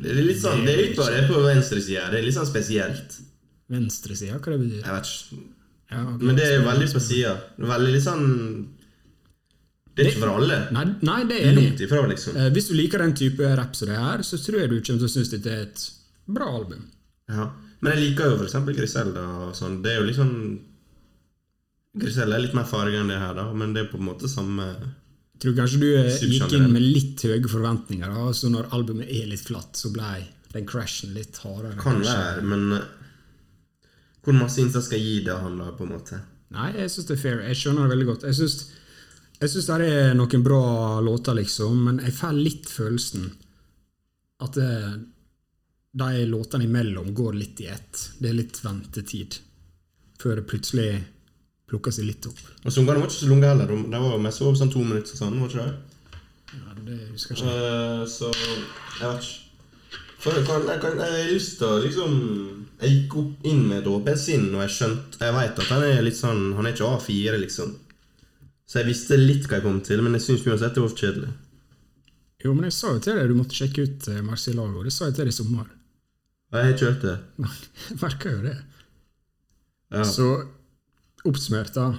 Det er litt sånn, det er litt bare på venstresida. Det er litt sånn spesielt.
Venstresida, hva det betyr?
Jeg vet ikke.
Ja, ok.
Men det er veldig på sida. Veldig litt sånn Det er ikke for alle.
Nei, nei, det er jeg enig. i.
Langt ifra, liksom.
Eh, Hvis du liker den type rap som det her, så tror jeg du kommer til å synes dette er et bra album.
Ja. Men jeg liker jo for eksempel Griselda og sånn. Det er jo liksom Griselda er litt mer farge enn det her, da, men det er på en måte samme
Jeg tror kanskje du eh, gikk
Subsjanger.
inn med litt høye forventninger, da, så når albumet er litt flatt, så blei den crashen litt hardere.
Kan
kanskje.
være, men eh, Hvor masse innsats skal jeg gi det han, da, på en måte?
Nei, jeg syns det er fair. Jeg skjønner det veldig godt. Jeg syns, jeg syns det er noen bra låter, liksom, men jeg får litt følelsen at det, de låtene imellom går litt i ett. Det er litt ventetid før det plutselig plukker seg litt opp.
Og sangene var ikke så lange heller. De- De var jo mest over sånn to minutter og sånn, var ikke det?
Ja, det husker jeg ikke.
Eh, så Jeg vet ikke. For jeg, kan, jeg, kan, jeg har lyst til å liksom Jeg gikk opp inn med et åpent sinn, og jeg skjønte Jeg veit at han er litt sånn Han er ikke A4, liksom. Så jeg visste litt hva jeg kom til, men jeg syns uansett det var for kjedelig.
Jo, men jeg sa jo til deg du måtte sjekke ut eh, Marcialago. Det sa jeg til deg i sommer.
Og jeg har ikke hørt det.
Jeg merka jo det.
Ja.
Så oppsummert, da.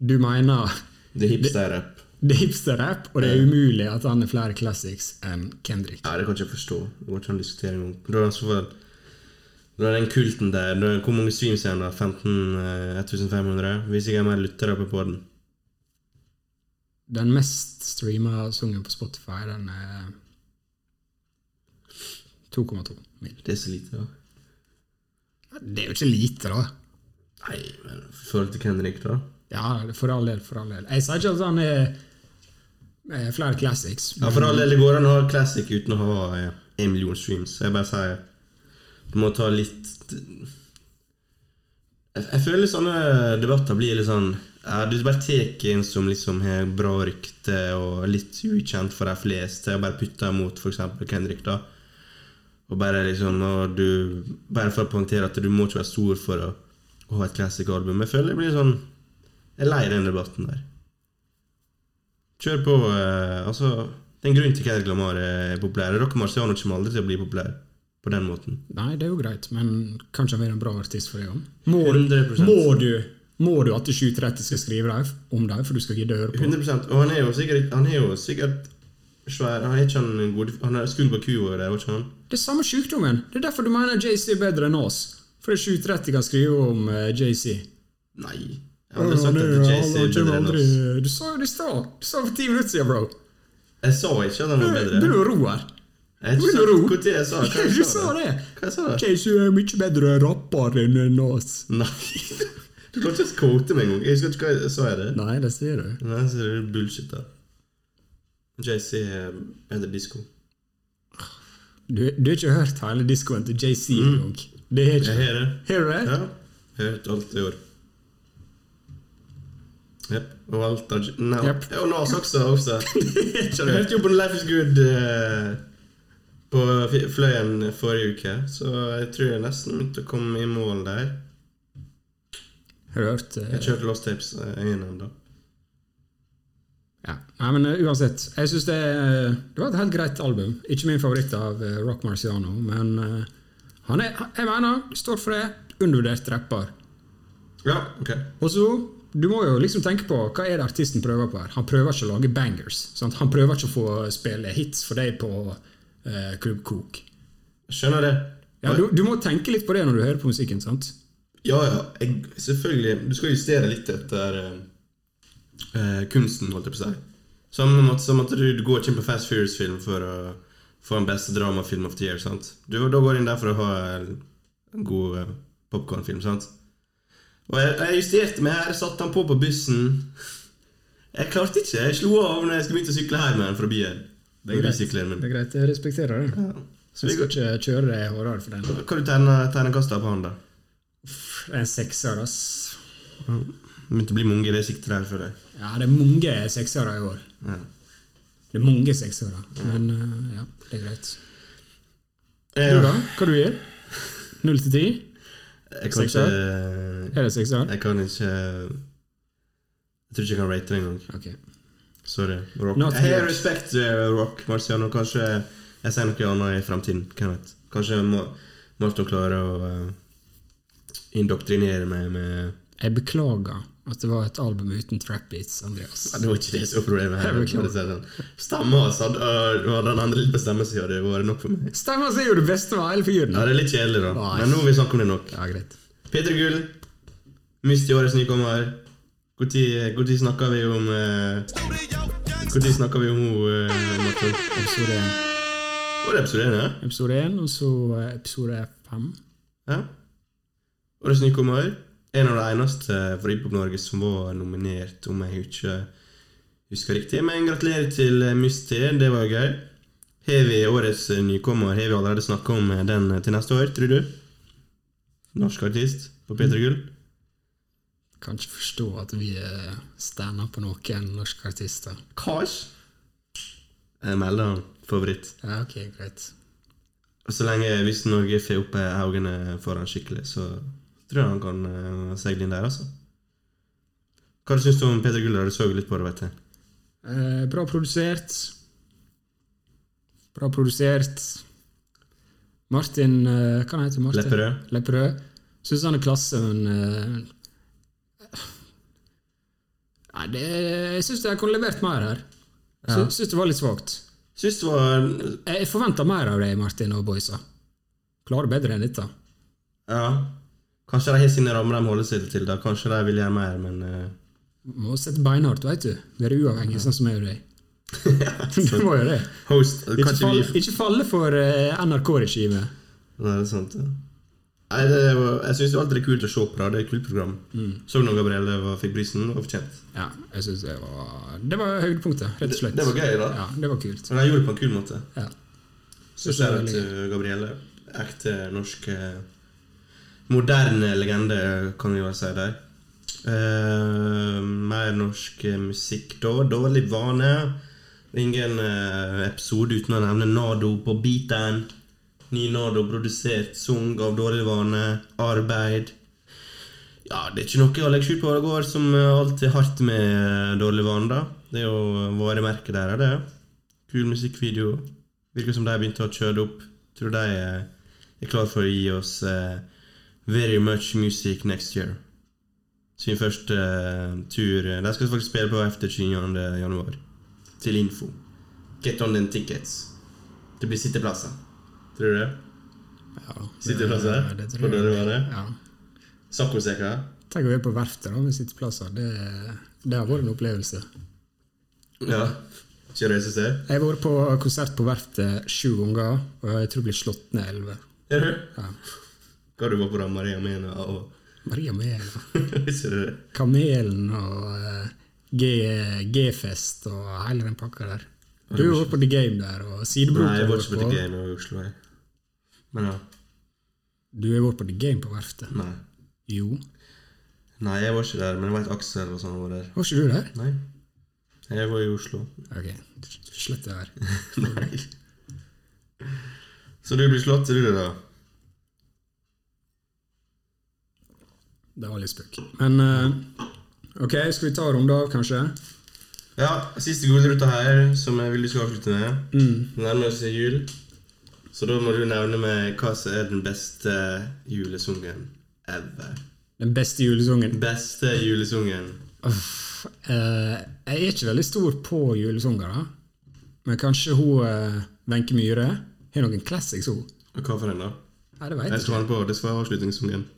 Du mener
Det er hipster-rapp.
Det er hipster-rap, og det er umulig at han har flere classics enn Kendrick.
Ja, det kan ikke jeg forstå. Det går ikke an å diskutere engang. Da er det i så fall- da er den kulten der da er, Hvor mange streams er den? da? 15 eh, 1500? Hvis ikke er mer lyttere på podden.
Den mest streama sangen på Spotify, den er 2,2 mil.
Det er så lite, da.
Det er jo ikke lite, da.
Nei, men i forhold til Kendrick, da?
Ja, for all del, for all del. Jeg sier ikke at han er, er flere classics.
Ja, for all del, det går an å ha classic uten å ha eh, en million streams. Jeg bare sier Du må ta litt Jeg, jeg føler sånne debatter blir litt sånn ja, Du bare tar en som liksom har bra rykte og er litt ukjent for de fleste, og bare putter mot f.eks. Kendrick, da. Og bare liksom og du, Bare for å poengtere at du må ikke være stor for å, å ha et classic album. Jeg føler det blir sånn Jeg er lei den debatten der. Kjør på. Eh, altså, det er en grunn til at Glamar er populær. Rock Marciano kommer aldri til å bli populær på den måten.
Nei, det er jo greit, men kanskje han er en bra artist for det òg. Må,
100%.
må du må du at 730 skal skrive deg om deg, for du skal gidde å høre på?
100 Og han er jo sikkert, han er jo sikkert svær. Han er ikke han en god Han er skudd på kua der, var ikke han?
Det er samme sjukdommen! Det er derfor du mener JC er bedre enn oss. For 730 kan skrive om eh, JC.
Nei. Jeg har aldri sagt at Jay-Z er bedre enn oss.
Du sa jo det i stad! Du sa for ti minutter siden, bro.
Jeg sa ikke at han var bedre.
Du og Roar.
Jeg har
Du
ikke
er
sagt
ro.
når jeg sa hva jeg
Du sa det!
Hva jeg sa det?
JC er mye bedre rapper enn oss.
Nei. Du klarte ikke å quote meg engang. Jeg husker ikke hva jeg sa. jeg det.
Nei, det sier du.
Nei, så det er bullshit, da. Jay-Z er bedre disko.
Du, du har ikke hørt hele diskoen til JC engang. Det har ikke
Jeg har det.
Har du Mm. det?
Ja. Hørt alt i år. Jepp. Og alt av Nei.
Jep.
Ja, og Nas også. også.
Ikke
Jeg hørte jo på Life Is Good eh, på F- Fløyen forrige uke, så jeg tror jeg nesten begynte å komme i mål der.
Har du hørt eh,
Jeg kjørte Lost Tapes eh, inn ennå.
ja. Nei, men eh, uansett. Jeg syns det, eh, det var et helt greit album. Ikke min favoritt av eh, Rock Marciano, men eh, han er, han- jeg mener, står for det. Undervurdert rapper.
Ja, ok.
Og så, du må jo liksom tenke på hva er det artisten prøver på her. Han prøver ikke å lage bangers. Sant? Han prøver ikke å få eh, spille hits for deg på eh, Klubb Cook.
Skjønner det.
Ja, du, du må tenke litt på det når du hører på musikken, sant?
Ja, ja. Jeg, selvfølgelig. Du skal justere litt etter eh, eh, kunsten, holdt jeg på å si. Samme måte som at du, du går ikke inn på Fast Furious-film for å få en beste dramafilm of the year. sant? Du, da går du inn der for å ha en, en god uh, popkornfilm, sant? Og jeg, jeg justerte meg her, satte han på på bussen. Jeg klarte ikke. Jeg slo av når jeg skulle begynne å sykle hjem igjen fra byen. Den grusykkelen
Det
min.
er greit, jeg respekterer det.
Så
Jeg
vi
skal
går,
ikke kjøre deg hardere for den.
hva du tegner terningkastet på han, da?
Det er En sekser, ass.
Det begynte å bli mange i det siktet der, føler jeg.
Ja, det er mange seksere i år.
Ja.
Det er mange seksere. Men eh, ja, det er greit. Du
Ja.
da? Hva du gir du? Null til ti?
Eh, Jeg kan ikke eh,
Sekser?
Jeg
Er det sekser?
kan ikke Jeg tror ikke jeg kan rate det engang.
Ok.
Sorry. Rock.
Not
jeg har
yet.
respekt eh, Rock Marciano. Kanskje jeg sier noe annet i fremtiden. Hvem vet. Kanskje Ma- Marton klarer å eh, indoktrinere meg med
Jeg beklager at det var et album uten trap beats, Andreas.
Nei, Det var ikke det som var problemet her.
Jeg beklager.
for å si det sånn. Stemma hans hadde øh, og den andre litt på stemmesida. Det var nok for meg.
Stemmer er jo det beste med hele fyren.
Ja, Det er litt kjedelig, da.
Nei.
Men nå har vi snakket om det nok.
Ja, greit.
Peter Gull, mist i årets nykommer. Når snakker vi om eh,
Studio gangster.
Når snakka vi om henne, eh, Martin?
Episode 1,
Var det episode 1? Ja?
episode 1 og så eh, episode 5.
ja? Årets nykommer. En av de eneste fra Hiphop Norge som var nominert, om jeg ikke husker riktig. Men gratulerer til eh, Musti, det var gøy. Har vi årets eh, nykommer? Har vi allerede snakka om eh, den til neste år, tror du? Norsk artist på P3 Gull?
Kan ikke forstå at vi eh, stander på noen norske artister.
Kars? Jeg melder han favoritt.
Ja, ok, greit.
Og så lenge hvis Norge får opp eh, øynene foran skikkelig, så tror jeg han kan eh, seile inn der, altså. Hva du syns du om Peter Guller? Du så jo litt på det, vet jeg.
Eh, bra produsert. Bra produsert. Martin eh, Hva heter han? Martin?
Lepperød.
Lepperød. Syns han er klasse, men eh, Nei, det, jeg syns de kunne levert mer her. Ja. Syns det var litt svakt.
Syns det var
Jeg forventa mer av deg, Martin og boysa. Klarer bedre enn dette.
Ja. Kanskje de har sine rammer de holder seg til. da. Kanskje de vil gjøre mer, men eh,
Må sette beinhardt, veit du. Være uavhengig, sånn som jeg og deg. du må jo det.
Host
Ikke
Kanskje
falle,
vi
ikke falle for eh, NRK-regimet.
Nei, det er sant. ja. Nei, det var, jeg syns alltid det er kult å se på. da. Det er et kult program. Så noen Gabrielle var- fikk prisen, og fortjent.
Ja, jeg synes det var Det var høydepunktet, rett og slett.
Det var gøy, da.
Ja, det var kult.
Men de gjorde det på en kul måte.
Ja.
Så
det var
ser jeg
veldig
til Gabrielle. Ekte norsk eh, Moderne legende, kan vi vel si der. Eh, mer norsk eh, musikk da. Dårlig vane. Ingen eh, episode uten å nevne Nado på beaten. Ny Nado produsert, sung av Dårlig vane. Arbeid. Ja, det er ikke noe å legge skjul på. Det går som eh, alltid hardt med eh, Dårlig vane, da. Det er jo eh, varemerket der, er det. Kul musikkvideo. Virker som de begynte å kjøre det opp. Tror de eh, er klar for å gi oss eh, very much music next year. Sin første eh, tur eh, De skal faktisk spille på efter 29. januar. Til info. Get on den tickets. Det blir sitteplasser. Tror du det?
Ja,
Sitteplasser?
det tror
På
jeg.
dørvare?
Ja.
Saccosekker?
Tenk å være på verftet da, med sitteplasser. Det, det har vært en opplevelse.
Ja. Ikke reise seg?
Jeg har vært på konsert på verftet sju ganger, og jeg tror jeg blir slått ned elleve.
Er du?
Ja.
Hva du var på da, Maria Mena og
Maria Mela.
Visste du det?
Kamelen og eh, G- G-fest og hele den pakka der. Du var på The Game der, og sidebroker
Nei, jeg var ikke på
var
The Game i Oslo, jeg. Men ja.
Du har vært på The Game på verftet?
Nei.
Jo.
Nei, jeg var ikke der, men jeg vet Aksel og sånn var der.
Var ikke du der?
Nei. Jeg var i Oslo.
Ok, slett det der.
Nei. Så du blir slått, sier du det, da?
Det var litt spøk. Men eh, ok, skal vi ta og runde av, kanskje?
Ja, siste gulrota her, som jeg vil du skal avslutte med. Det nærmer seg jul, så da må du nevne meg hva som er den beste julesungen ever.
Den beste julesungen.
Beste julesungen.
Uff, eh, jeg er ikke veldig stor på julesanger, da. Men kanskje hun eh, Wenche Myhre har noen classics, hun.
Og hva for en, da?
Nei, det vet
Jeg
jeg ikke.
skal ha den på. Det skal være avslutningssungen.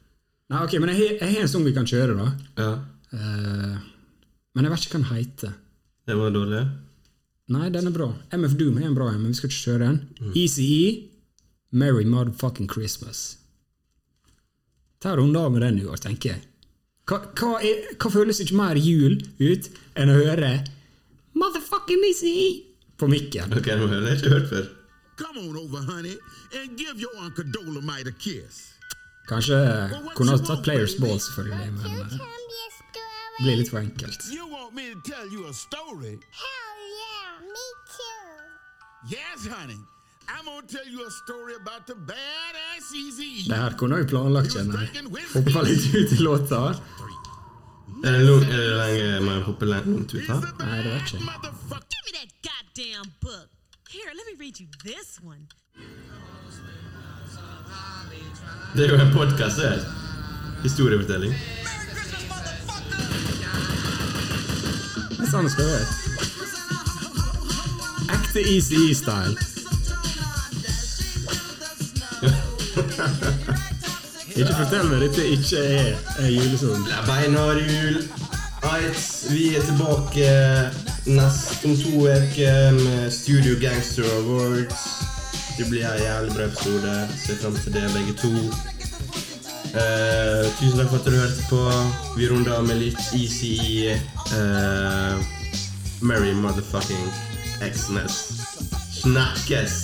Nei, ok, men jeg har- jeg har en sang vi kan kjøre, da.
Ja.
Eh, men jeg vet ikke hva den heter.
Det var dårlig.
Nei, den er bra. MF Doom er en bra en, men vi skal ikke kjøre den. ECE, Merry Motherfucking Christmas. Ta runden av med den i år, tenker jeg. Hva, hva, er, hva føles ikke mer jul ut enn å høre Motherfucking ECE på mikken?
Ok, nå har jeg ikke hørt før.
Come on over, honey, and give your Uncle Dolomite a kiss.
Kanskje kunne ha tatt Players Ball, selvfølgelig, men
You
eh,
tell me a story.
det blir litt for enkelt.
You want me to tell you a story?
Hell yeah, me too.
Yes, honey. I'm gonna tell you a story about the badass Easy.
Det her kunne jeg jo planlagt, kjenner jeg.
drinking whiskey.
Hoppa litt ut i låta.
Er det lang- er det lenge man hopper langt ut,
He's
da?
a
I don't
bad
actually.
motherfucker.
Give me that goddamn book. Here, let me read you this one.
Det er jo en podkast, det her. Historiefortelling.
Sånn skal det være. Ekte ECE-style. Ikke fortell meg dette ikke er en julesang.
Det er beinhard jul. Eit, vi er tilbake nest om to uker med Studio Gangster Awards. Det blir en jævlig bra episode. Ser fram til det, begge to. Eh, tusen takk for at du hørte på. Vi runder av med litt ECE. eh, Merry motherfucking Xmas. Snakkes!